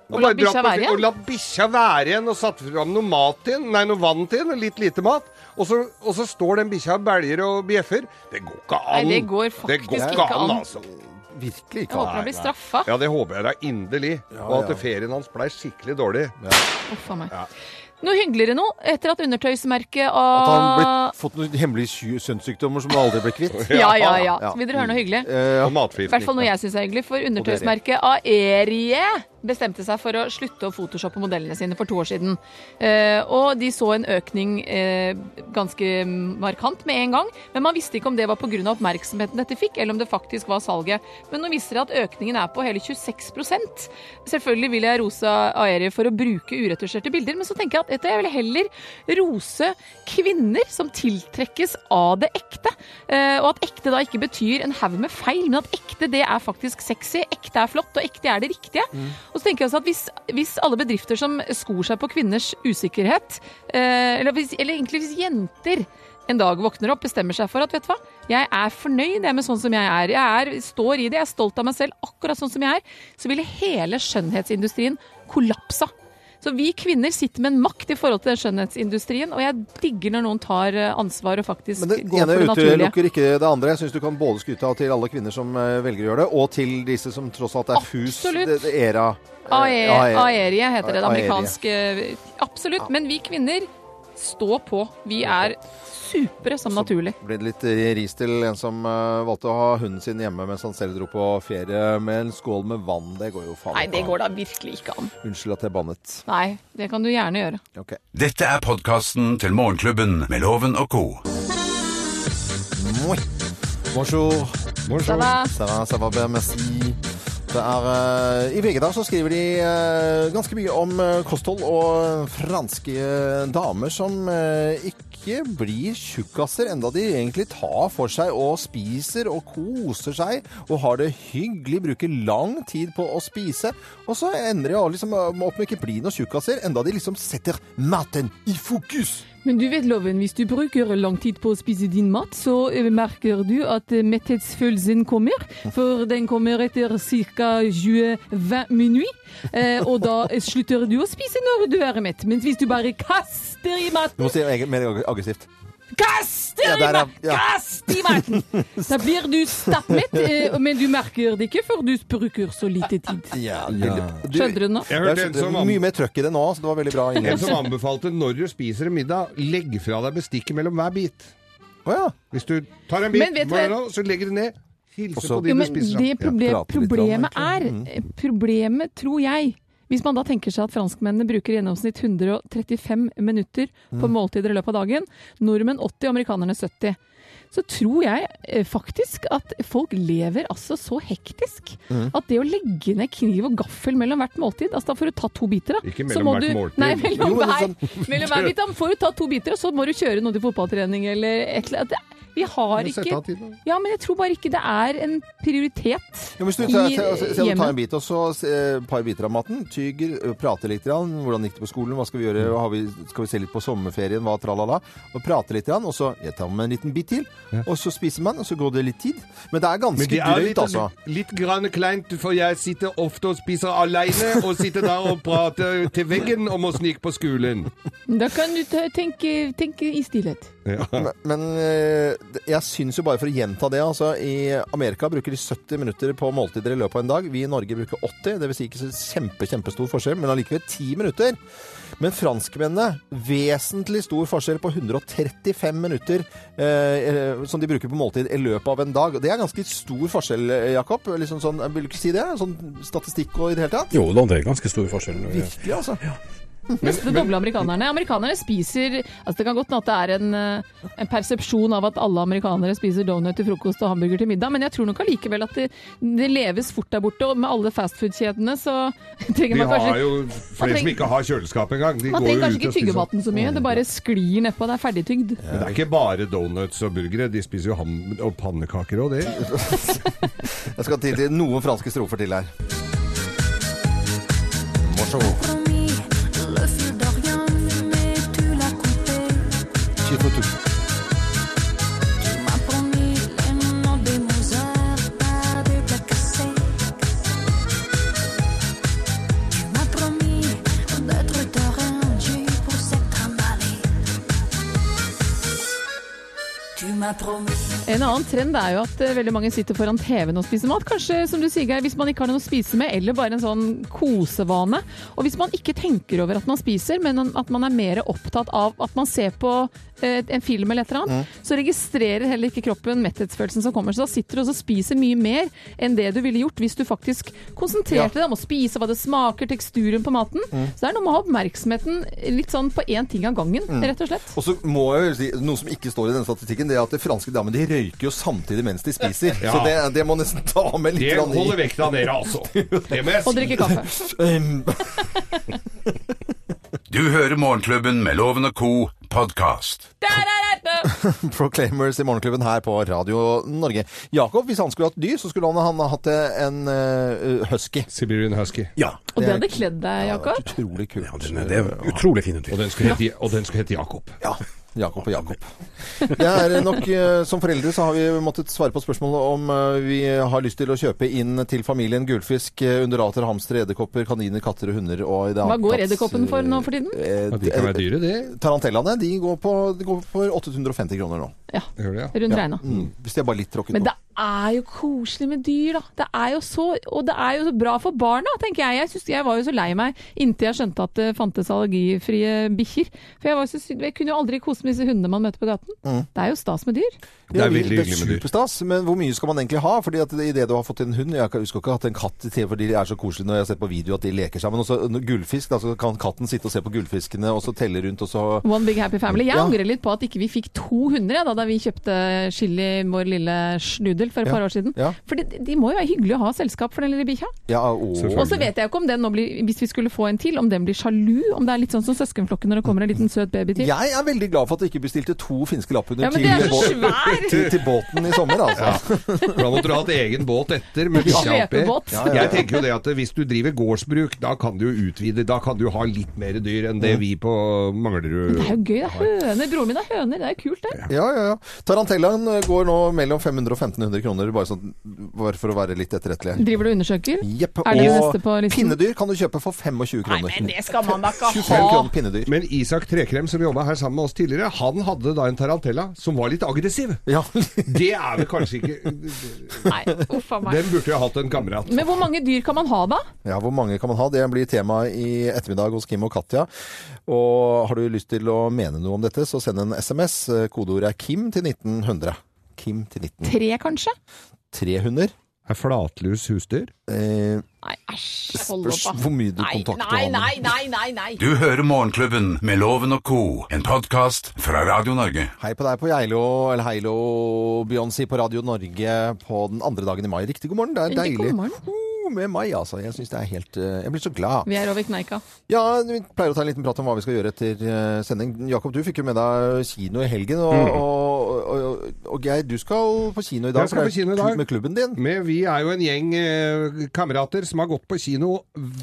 Speaker 3: Og
Speaker 2: la
Speaker 3: bare dratt
Speaker 2: bikkja
Speaker 3: på
Speaker 2: være
Speaker 3: fe-
Speaker 2: igjen?
Speaker 3: Og la bikkja være igjen, og satt fram noe mat til den, nei, noe vann til den, og litt lite mat. Og så, og så står den bikkja og belger og bjeffer. Det går ikke an.
Speaker 2: Nei, det går faktisk
Speaker 3: går
Speaker 2: ikke an.
Speaker 3: altså.
Speaker 1: Virkelig
Speaker 2: Jeg
Speaker 1: ikke.
Speaker 2: håper han blir straffa.
Speaker 3: Ja, det håper jeg da inderlig. og at
Speaker 1: ja.
Speaker 3: ferien hans blei skikkelig dårlig.
Speaker 2: Uff a meg. Noe hyggeligere nå, etter at undertøysmerket av
Speaker 1: At han ble, fått noen hemmelige sy- søvnsykdommer som han aldri ble kvitt.
Speaker 2: Ja, ja, ja.
Speaker 1: Ja.
Speaker 2: Vil dere høre noe hyggelig?
Speaker 1: Eh,
Speaker 2: I hvert
Speaker 3: <laughs> Og
Speaker 2: fall
Speaker 3: matforgiftning.
Speaker 2: noe jeg syns er hyggelig, for undertøysmerket Aerie bestemte seg for å slutte å photoshoppe modellene sine for to år siden. Eh, og de så en økning eh, ganske markant med en gang, men man visste ikke om det var pga. oppmerksomheten dette fikk, eller om det faktisk var salget. Men nå viser det at økningen er på hele 26 Selvfølgelig vil jeg rose Aerie for å bruke uretusjerte bilder, men så tenker jeg at dette jeg vil heller rose kvinner som tiltrekkes av det ekte. Eh, Og at ekte da ikke betyr en haug med feil, men at ekte det er faktisk sexy, ekte er flott, og ekte er det riktige. Og så tenker jeg også at hvis, hvis alle bedrifter som skor seg på kvinners usikkerhet, eh, eller, hvis, eller egentlig hvis jenter en dag våkner opp, bestemmer seg for at vet du hva, jeg er fornøyd jeg, med sånn som jeg er. Jeg er, står i det, jeg er stolt av meg selv akkurat sånn som jeg er. Så ville hele skjønnhetsindustrien kollapsa. Så vi kvinner sitter med en makt i forhold til den skjønnhetsindustrien, og jeg digger når noen tar eh, ansvar og faktisk
Speaker 1: Men det
Speaker 2: går
Speaker 1: ene
Speaker 2: for det naturlige.
Speaker 1: utelukker ikke det andre. Jeg syns du kan både skryte av til alle kvinner som eh, velger å gjøre det, og til disse som tross alt er fus
Speaker 2: Absolutt.
Speaker 1: det, det era. eh,
Speaker 2: Ae-
Speaker 1: ja, eh,
Speaker 2: Aerie heter det. det
Speaker 1: Aerie.
Speaker 2: amerikanske Absolutt. Men vi kvinner stå på. Vi er supre som naturlig.
Speaker 1: Ble det litt eh, ris til en som eh, valgte å ha hunden sin hjemme mens han selv dro på ferie med en skål med vann. Det går jo faen
Speaker 2: Nei,
Speaker 1: ikke
Speaker 2: det
Speaker 1: an.
Speaker 2: går da virkelig ikke an.
Speaker 1: Unnskyld at jeg bannet.
Speaker 2: Nei, det kan du gjerne gjøre.
Speaker 1: Ok.
Speaker 4: Dette er podkasten til Morgenklubben med Loven og co.
Speaker 1: Moi. Bonjour.
Speaker 2: Da da.
Speaker 1: Ça va, ça va bien, merci. Det er, eh, I VG da så skriver de eh, ganske mye om eh, kosthold og franske damer som eh, ikke blir tjukkaser, enda de egentlig tar for seg og spiser og koser seg og har det hyggelig, bruker lang tid på å spise. Og så ender de liksom opp med ikke bli noen tjukkaser, enda de liksom setter maten i fokus.
Speaker 2: Men du vet, Loven, hvis du bruker lang tid på å spise din mat, så eh, merker du at eh, metthetsfølelsen kommer. For den kommer etter ca. 20-20 minutt. Eh, og da eh, slutter du å spise når du er mett. Mens hvis du bare kaster i maten
Speaker 1: Du må si det mer aggressivt.
Speaker 2: Kast i,
Speaker 1: Ja, der er-
Speaker 2: ma-
Speaker 1: ja.
Speaker 2: kast i
Speaker 1: <laughs>
Speaker 2: maten! Da blir du stappmett, eh, men du merker det ikke før du bruker så lite tid.
Speaker 1: Ja,
Speaker 2: Skjønner du nå?
Speaker 3: Jeg
Speaker 1: Det
Speaker 3: hørte
Speaker 1: er
Speaker 3: en som,
Speaker 1: mye
Speaker 3: an
Speaker 1: mer trøkk i det nå, så det var veldig
Speaker 3: <laughs>
Speaker 1: bra
Speaker 3: en
Speaker 1: innledning.
Speaker 3: som anbefalte når du spiser en middag, legg fra deg bestikket mellom hver bit.
Speaker 1: Å ja.
Speaker 3: Hvis du tar en bit,
Speaker 2: Men vet du
Speaker 3: bare
Speaker 2: hva-
Speaker 3: nå, så legger du ned. Hilser
Speaker 1: Også-
Speaker 3: på de
Speaker 2: Jo,
Speaker 3: du
Speaker 2: men
Speaker 3: spiser
Speaker 2: det
Speaker 3: sammen. Ja.
Speaker 1: Ja, prate
Speaker 2: proble
Speaker 1: litt om
Speaker 2: problemet
Speaker 1: det,
Speaker 2: er eh,
Speaker 3: Mm.
Speaker 2: Problemet, tror jeg Hvis man da tenker seg at franskmennene bruker i gjennomsnitt 135 minutter
Speaker 3: Mm.
Speaker 2: på måltider i løpet av dagen, nordmenn 80, amerikanerne 70. Så tror jeg eh, faktisk at folk lever altså så hektisk
Speaker 3: Mm.
Speaker 2: at det å legge ned kniv og gaffel mellom hvert måltid altså Da får du tatt to biter, da.
Speaker 3: Ikke
Speaker 2: Så
Speaker 3: mellom
Speaker 2: må
Speaker 3: hvert
Speaker 2: du,
Speaker 3: måltid. sånn-
Speaker 2: Nei,
Speaker 1: Jo,
Speaker 2: mellom
Speaker 1: men
Speaker 2: hver,
Speaker 1: det
Speaker 2: mellom hver bit. Da får du tatt to biter, og så må du kjøre noe til fotballtrening eller et eller annet. Vi har
Speaker 3: Men sett
Speaker 2: ikke
Speaker 3: av tiden, da.
Speaker 2: ja, men jeg tror bare ikke det er en prioritet
Speaker 1: Ja, hvis du,
Speaker 2: i
Speaker 1: se, se, se, se, du tar en
Speaker 2: hjemmet.
Speaker 1: bit og så se, et par biter av maten, tyger, ø, prater litt. Grann. Hvordan gikk det på skolen? Hva skal vi gjøre?
Speaker 3: Mm.
Speaker 1: Hva Har vi, skal vi se litt på sommerferien? Hva tralala? Og prater litt, grann, og så jeg tar med en liten bit til. Og så spiser man, og så går det litt tid. Men det er ganske
Speaker 3: Men det er litt, sånn
Speaker 1: drøyt, altså.
Speaker 3: litt grann kleint, for jeg sitter ofte og spiser aleine, og sitter der og prater til veggen om å snike på skolen.
Speaker 2: Da kan du ta, tenke, tenke i stillhet.
Speaker 1: Men, men ø, det- jeg syns jo bare for å gjenta det, altså. I Amerika bruker de 70 minutter på måltider i løpet av en dag. Vi i Norge bruker 80. Det vil si ikke så kjempe, kjempestor forskjell, men allikevel 10 minutter. Men franskmennene vesentlig stor forskjell på 135 minutter eh, eh, som de bruker på måltid i løpet av en dag. Og Det er ganske stor forskjell, eh, Jakob. Liksom sånn, eh, vil du ikke si det? Sånn statistikk og i det hele tatt?
Speaker 5: Jo da, det er ganske stor forskjell.
Speaker 1: Virkelig, altså.
Speaker 2: Nesten doble amerikanerne. Amerikanerne spiser altså Det kan godt hende at det er en, eh, en persepsjon av at alle amerikanere spiser donut til frokost og hamburger til middag, men jeg tror nok allikevel at det, det leves fort der borte. Og med alle fastfood-kjedene så <laughs> trenger
Speaker 3: De
Speaker 2: man
Speaker 3: har
Speaker 2: kanskje
Speaker 3: jo flere som ikke har kjøleskap engang. De
Speaker 2: man
Speaker 3: går jo
Speaker 2: trenger kanskje
Speaker 3: ut og sånn-
Speaker 2: ikke
Speaker 3: spiser.
Speaker 2: tygge maten så mye, det bare sklir nedpå. Det er ferdigtygd.
Speaker 3: Men det er ikke bare donuts og burgere. De spiser jo ham og pannekaker òg, det.
Speaker 1: Jeg skal til, til noen franske strofer til her. Bonjour.
Speaker 8: Promis, le feu d'Orient, mais tu l'as coupé.
Speaker 1: Tu peux tout.
Speaker 8: Tu m'as promis les noms des Mozart, pas des plaques cassées. Tu m'as promis
Speaker 2: En annen trend er jo at eh, veldig mange sitter foran TV-en og spiser mat. Kanskje, som du sier, Geir, hvis man ikke har noe å spise med, eller bare en sånn kosevane. Og hvis man ikke tenker over at man spiser, men at man er mer opptatt av at man ser på eh, en film eller et eller annet, så registrerer heller ikke kroppen metthetsfølelsen som kommer. Så da sitter du også og spiser mye mer enn det du ville gjort hvis du faktisk konsentrerte deg om å spise, hva det smaker, teksturen på maten. Så det er noe med å ha oppmerksomheten litt sånn på én ting av gangen, rett og slett.
Speaker 1: Og så må jeg jo si, Noe som ikke står i denne statistikken, det er at de franske damene de røyker jo samtidig mens de spiser.
Speaker 3: Ja.
Speaker 1: Så det, det må nesten ta med litt
Speaker 3: Det
Speaker 1: grann i.
Speaker 3: holder vekta nede, altså. Det må jeg
Speaker 2: Og
Speaker 3: si.
Speaker 2: drikke kaffe.
Speaker 1: <laughs> Um,
Speaker 4: Du hører Morgenklubben med Loven og Co. podkast.
Speaker 1: Proclaimers i Morgenklubben her på Radio Norge. Jakob, hvis han skulle hatt dyr, så skulle han, han hatt en eh, husky.
Speaker 3: Sibirian Husky.
Speaker 5: Ja.
Speaker 2: Og det hadde kledd deg, Jakob.
Speaker 1: Utrolig kult.
Speaker 5: Den er, det er utrolig fine dyr.
Speaker 3: Og den skulle hete, og den skulle hete Jakob.
Speaker 1: Ja. Jakob og Jakob. Det er nok, eh, Som foreldre så har vi måttet svare på spørsmålet om eh, vi har lyst til å kjøpe inn til familien gulfisk, eh, undulater, hamstere, edderkopper, kaniner, katter og hunder. Og i det
Speaker 2: Hva
Speaker 1: annet
Speaker 2: går
Speaker 1: tatt,
Speaker 2: edderkoppen for nå for tiden?
Speaker 1: eh,
Speaker 3: Ja, de kan være dyre, det.
Speaker 1: Tarantellaene de går, på, de går for 850 kroner nå.
Speaker 2: Ja,
Speaker 3: Det gjør det, ja.
Speaker 2: rundt regna.
Speaker 3: Mm.
Speaker 1: Hvis de er bare litt tråkket
Speaker 2: Men
Speaker 1: på.
Speaker 2: det er jo koselig med dyr, da. Det er jo så, og det er jo så bra for barna, tenker jeg. Jeg, synes, jeg var jo så lei meg inntil jeg skjønte at det fantes allergifrie bikkjer. For jeg, var så, sy- jeg kunne jo aldri kose med disse hundene man møter på gaten. Det er jo stas med dyr.
Speaker 3: Det er veldig hyggelig med dyr.
Speaker 1: superstas, men hvor mye skal man egentlig ha? Fordi at i det du har fått en hund Jeg skal ikke ha hatt en katt i TV, fordi de er så koselige når jeg har sett på video at de leker sammen. Og så når gullfisk, da så kan katten sitte og se på gullfiskene og så telle rundt, og så
Speaker 2: One big happy family. Jeg
Speaker 1: Ja.
Speaker 2: angrer litt på at ikke vi fikk to hunder jeg, da, da vi kjøpte Chili, vår lille snudel, for et
Speaker 1: Ja.
Speaker 2: par år siden.
Speaker 1: Ja.
Speaker 2: For de, de må jo være hyggelige å ha selskap for den lille bikkja.
Speaker 1: Ja, og
Speaker 3: Selvfølgelig.
Speaker 2: Og så vet jeg jo ikke om den nå blir, hvis vi skulle få en til, om den blir sjalu. Om det er litt sånn som søskenflokken når det kommer en liten søt baby til.
Speaker 1: jeg er veldig glad for at jeg ikke bestilte to finske lapphunder
Speaker 2: Ja, men det
Speaker 1: til,
Speaker 2: er så
Speaker 1: bå-
Speaker 2: svær!
Speaker 1: til, til båten i sommer, altså.
Speaker 3: Da måtte du ha hatt egen båt
Speaker 2: <laughs>
Speaker 3: etter. Med bikkja oppi.
Speaker 2: Slepebåt.
Speaker 1: Ja, ja, ja.
Speaker 3: Jeg tenker jo det at hvis du driver gårdsbruk, da kan du jo utvide. Da kan du ha litt mer dyr enn det vi på Manglerud
Speaker 2: Det er jo gøy, det er høner. Broren min har høner, det er jo kult det.
Speaker 1: <laughs> Ja, ja, ja. Tarantellaen eh, går nå mellom 500 og 1500 kroner, bare, sånn, bare for å være litt etterrettelig.
Speaker 2: Driver du og undersøker?
Speaker 1: Jepp.
Speaker 2: Er det det
Speaker 1: Og
Speaker 2: neste på listen?
Speaker 1: pinnedyr kan du kjøpe for 25 kroner.
Speaker 2: det skal man da ikke
Speaker 1: 25 kroner pinnedyr.
Speaker 3: Men Isak Trekrem, som jobba her sammen med oss tidligere, han hadde da en tarantella som var litt aggressiv.
Speaker 1: Ja. <laughs>
Speaker 3: Det er vel kanskje ikke
Speaker 2: Nei, uff a meg.
Speaker 3: Den burde jo hatt en kamerat.
Speaker 2: Men hvor mange dyr kan man ha da?
Speaker 1: ja, hvor mange kan man ha? Det blir tema i ettermiddag hos Kim og Katja. Og har du lyst til å mene noe om dette, så send en SMS. Eh, Kodeordet er Kim til 1900. Kim til 1900.
Speaker 2: Tre kanskje?
Speaker 1: 300.
Speaker 3: Er flatlus husdyr?
Speaker 1: Eh,
Speaker 2: Nei, æsj. Hold
Speaker 1: spørs
Speaker 2: opp, da.
Speaker 1: hvor mye du kontakter han med.
Speaker 2: nei, nei, nei.
Speaker 4: Du hører Morgenklubben med Loven og Co., en podkast fra Radio Norge.
Speaker 1: Hei på deg på Geilo, eller Heilo Beyoncé på Radio Norge på den andre dagen i mai. Riktig god morgen, det er
Speaker 2: Riktig
Speaker 1: deilig.
Speaker 2: god morgen.
Speaker 1: Uh, med mai, altså. Jeg syns det er helt eh, Jeg blir så glad.
Speaker 2: Vi er over kneika.
Speaker 1: Ja, vi pleier å ta en liten prat om hva vi skal gjøre etter eh, sending. Jakob, du fikk jo med deg kino i helgen, og, og, og, og, og Geir, du skal på kino i dag.
Speaker 3: Mm. Jeg skal
Speaker 1: for
Speaker 3: på kino i
Speaker 1: det er
Speaker 3: dag.
Speaker 1: Med klubben din.
Speaker 3: Men vi er jo en gjeng eh, kamerater som har gått på kino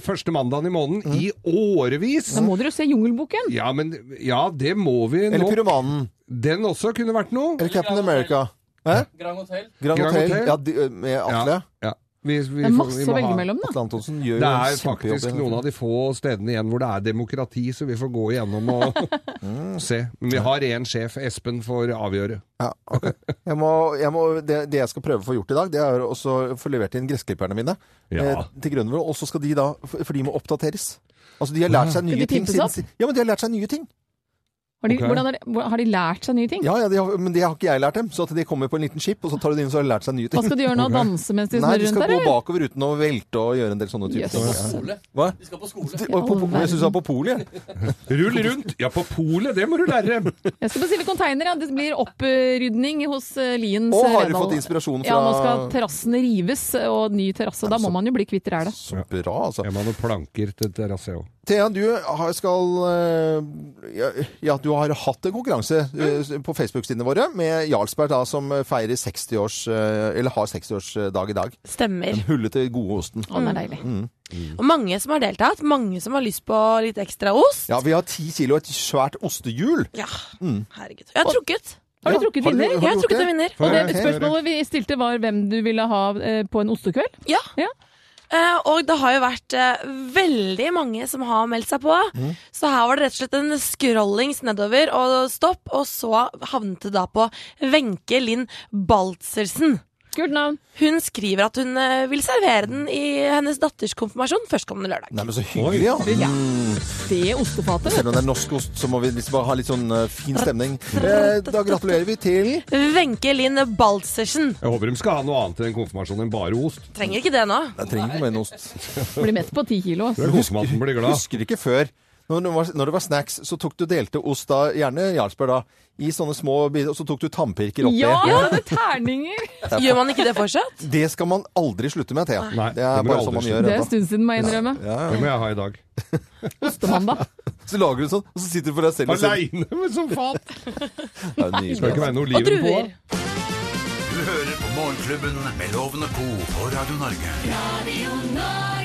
Speaker 3: første mandagen i måneden
Speaker 2: Mm.
Speaker 3: i årevis.
Speaker 2: Da må dere jo se Jungelboken.
Speaker 3: Ja, men Ja, det må vi
Speaker 1: Eller
Speaker 3: nå.
Speaker 1: Pyromanen.
Speaker 3: Den også kunne vært noe.
Speaker 1: Eller Captain America. Hæ?
Speaker 10: Grand Hotel.
Speaker 1: Grand
Speaker 3: Grand
Speaker 1: Hotel.
Speaker 3: Hotel.
Speaker 1: Ja, de, eh, med Atle.
Speaker 3: Ja. Vi, vi,
Speaker 2: Det er
Speaker 3: får-
Speaker 2: masse
Speaker 3: vi
Speaker 2: å
Speaker 3: må
Speaker 2: velge
Speaker 3: ha-
Speaker 2: mellom da.
Speaker 1: Atle Antonsen gjør
Speaker 3: Det
Speaker 1: jo
Speaker 3: er
Speaker 1: en kjempejobb.
Speaker 3: faktisk noen av de få stedene igjen hvor det er demokrati, så vi får gå igjennom <laughs> og Mm. se. Men vi har én sjef. Espen får avgjøre.
Speaker 1: Ja, ok. jeg må, jeg må, det, det jeg skal prøve å få gjort i dag, det er å også få levert inn gressklipperne mine
Speaker 3: Ja.
Speaker 1: eh, til Grønvoll. Og så skal de da For for de må oppdateres. Altså, de har lært seg
Speaker 2: Skal
Speaker 1: nye
Speaker 2: de
Speaker 1: ting.
Speaker 2: pimpes
Speaker 1: siden-
Speaker 2: opp?
Speaker 1: si- ja, men de har lært seg nye ting.
Speaker 2: Har de,
Speaker 3: Ok.
Speaker 2: hvordan er det, hvor- har de lært seg nye ting?
Speaker 1: Ja, ja, de har, Men det har ikke jeg lært dem. Så at de kommer på en liten skip, og så tar de det inn og så har de lært seg nye
Speaker 2: Hva
Speaker 1: ting.
Speaker 2: skal de gjøre nå? Danse mens de
Speaker 1: Nei,
Speaker 2: snurrer
Speaker 1: de
Speaker 2: rundt
Speaker 1: skal
Speaker 2: der?
Speaker 1: gå
Speaker 2: eller?
Speaker 1: bakover uten å velte og gjøre en del sånne typer
Speaker 2: Jøs.
Speaker 1: ting. Ja.
Speaker 10: Skole.
Speaker 1: Hva?
Speaker 10: De skal på skole.
Speaker 1: Og på,
Speaker 2: all
Speaker 1: men jeg syns det var på polet. jeg.
Speaker 3: Rull rundt! Ja, på polet, det må du lære <laughs> dem!
Speaker 2: Jeg skal bestille container, ja. Det blir opprydning hos eh, Liens
Speaker 1: Og har du
Speaker 2: Redal.
Speaker 1: fått inspirasjon
Speaker 2: Ja, nå skal
Speaker 1: fra
Speaker 2: terrassen rives, og ny terrasse. Da må man jo bli kvitt rælet.
Speaker 1: Så bra, altså.
Speaker 3: Jeg må ha noen planker til terrasse òg.
Speaker 1: Thea, du har, skal eh, ja, ja, du har hatt en konkurranse eh, på Facebook-sidene våre med Jarlsberg, da, som feirer 60-års eh, Eller har 60-årsdag i dag.
Speaker 9: Stemmer.
Speaker 1: Den hullete, gode osten.
Speaker 9: Mm.
Speaker 2: Å, det er deilig.
Speaker 9: Og mange som har deltatt. Mange som har lyst på litt ekstra ost.
Speaker 1: Ja, vi har ti kilo og et svært ostehjul.
Speaker 9: Ja. Herregud. Jeg har trukket.
Speaker 2: Har
Speaker 1: Ja,
Speaker 2: du trukket
Speaker 1: har du- har
Speaker 2: vinner?
Speaker 9: Jeg har
Speaker 1: gjort
Speaker 9: trukket
Speaker 1: det?
Speaker 9: en vinner.
Speaker 2: Og det
Speaker 1: Ok.
Speaker 2: spørsmålet vi stilte var hvem du ville ha eh, på en ostekveld.
Speaker 9: Ja.
Speaker 2: Ja.
Speaker 9: Eh, og det har jo vært eh, veldig mange som har meldt seg på.
Speaker 1: Mm.
Speaker 9: Så her var det rett og slett en scrollings nedover og stopp, og så havnet det da på Wenche Linn Baltzersen.
Speaker 2: Kult navn.
Speaker 9: Hun skriver at hun eh, vil servere den i hennes datters konfirmasjon førstkommende lørdag.
Speaker 1: Nei, men så hyggelig, ja.
Speaker 2: Ja. Det ostefatet,
Speaker 1: Selv
Speaker 2: vet
Speaker 1: om
Speaker 2: du.
Speaker 1: det er norsk ost, så må vi liksom bare ha litt sånn eh, fin stemning. Eh, da gratulerer vi til
Speaker 9: Wenche Linn Baltzersen.
Speaker 3: Jeg håper de skal ha noe annet enn konfirmasjonen enn bare ost.
Speaker 9: Trenger ikke det nå.
Speaker 1: Jeg trenger ikke mer enn ost.
Speaker 2: Blir mett på ti kilo. altså. ass.
Speaker 3: Jeg håper man blir glad.
Speaker 1: Husker ikke før. Når det, var, når det var snacks, så tok du delte ost da, gjerne Jarlsberg da, i sånne små biter, og så tok du tannpirker oppi.
Speaker 2: Ja, det er terninger!
Speaker 9: Gjør man ikke det fortsatt?
Speaker 1: Det skal man aldri slutte med, Thea.
Speaker 3: Nei,
Speaker 1: det
Speaker 3: det
Speaker 1: er
Speaker 3: må
Speaker 1: bare
Speaker 3: du
Speaker 1: sånn man
Speaker 3: aldri
Speaker 1: gjør.
Speaker 2: Det er en
Speaker 1: ennå.
Speaker 2: stund siden, må jeg innrømme.
Speaker 3: Det må jeg ha i dag.
Speaker 2: Ostemandag.
Speaker 1: Så lager du sånn, og så sitter du for deg selv og ser-
Speaker 3: Aleine, men som faen!
Speaker 1: Det er nydelig,
Speaker 3: Skal ikke
Speaker 1: altså.
Speaker 3: være noe
Speaker 9: Og
Speaker 3: liv på.
Speaker 9: druer.
Speaker 4: Du hører på Morgenklubben med Lovende Co på Radio Norge.
Speaker 8: Radio Norge.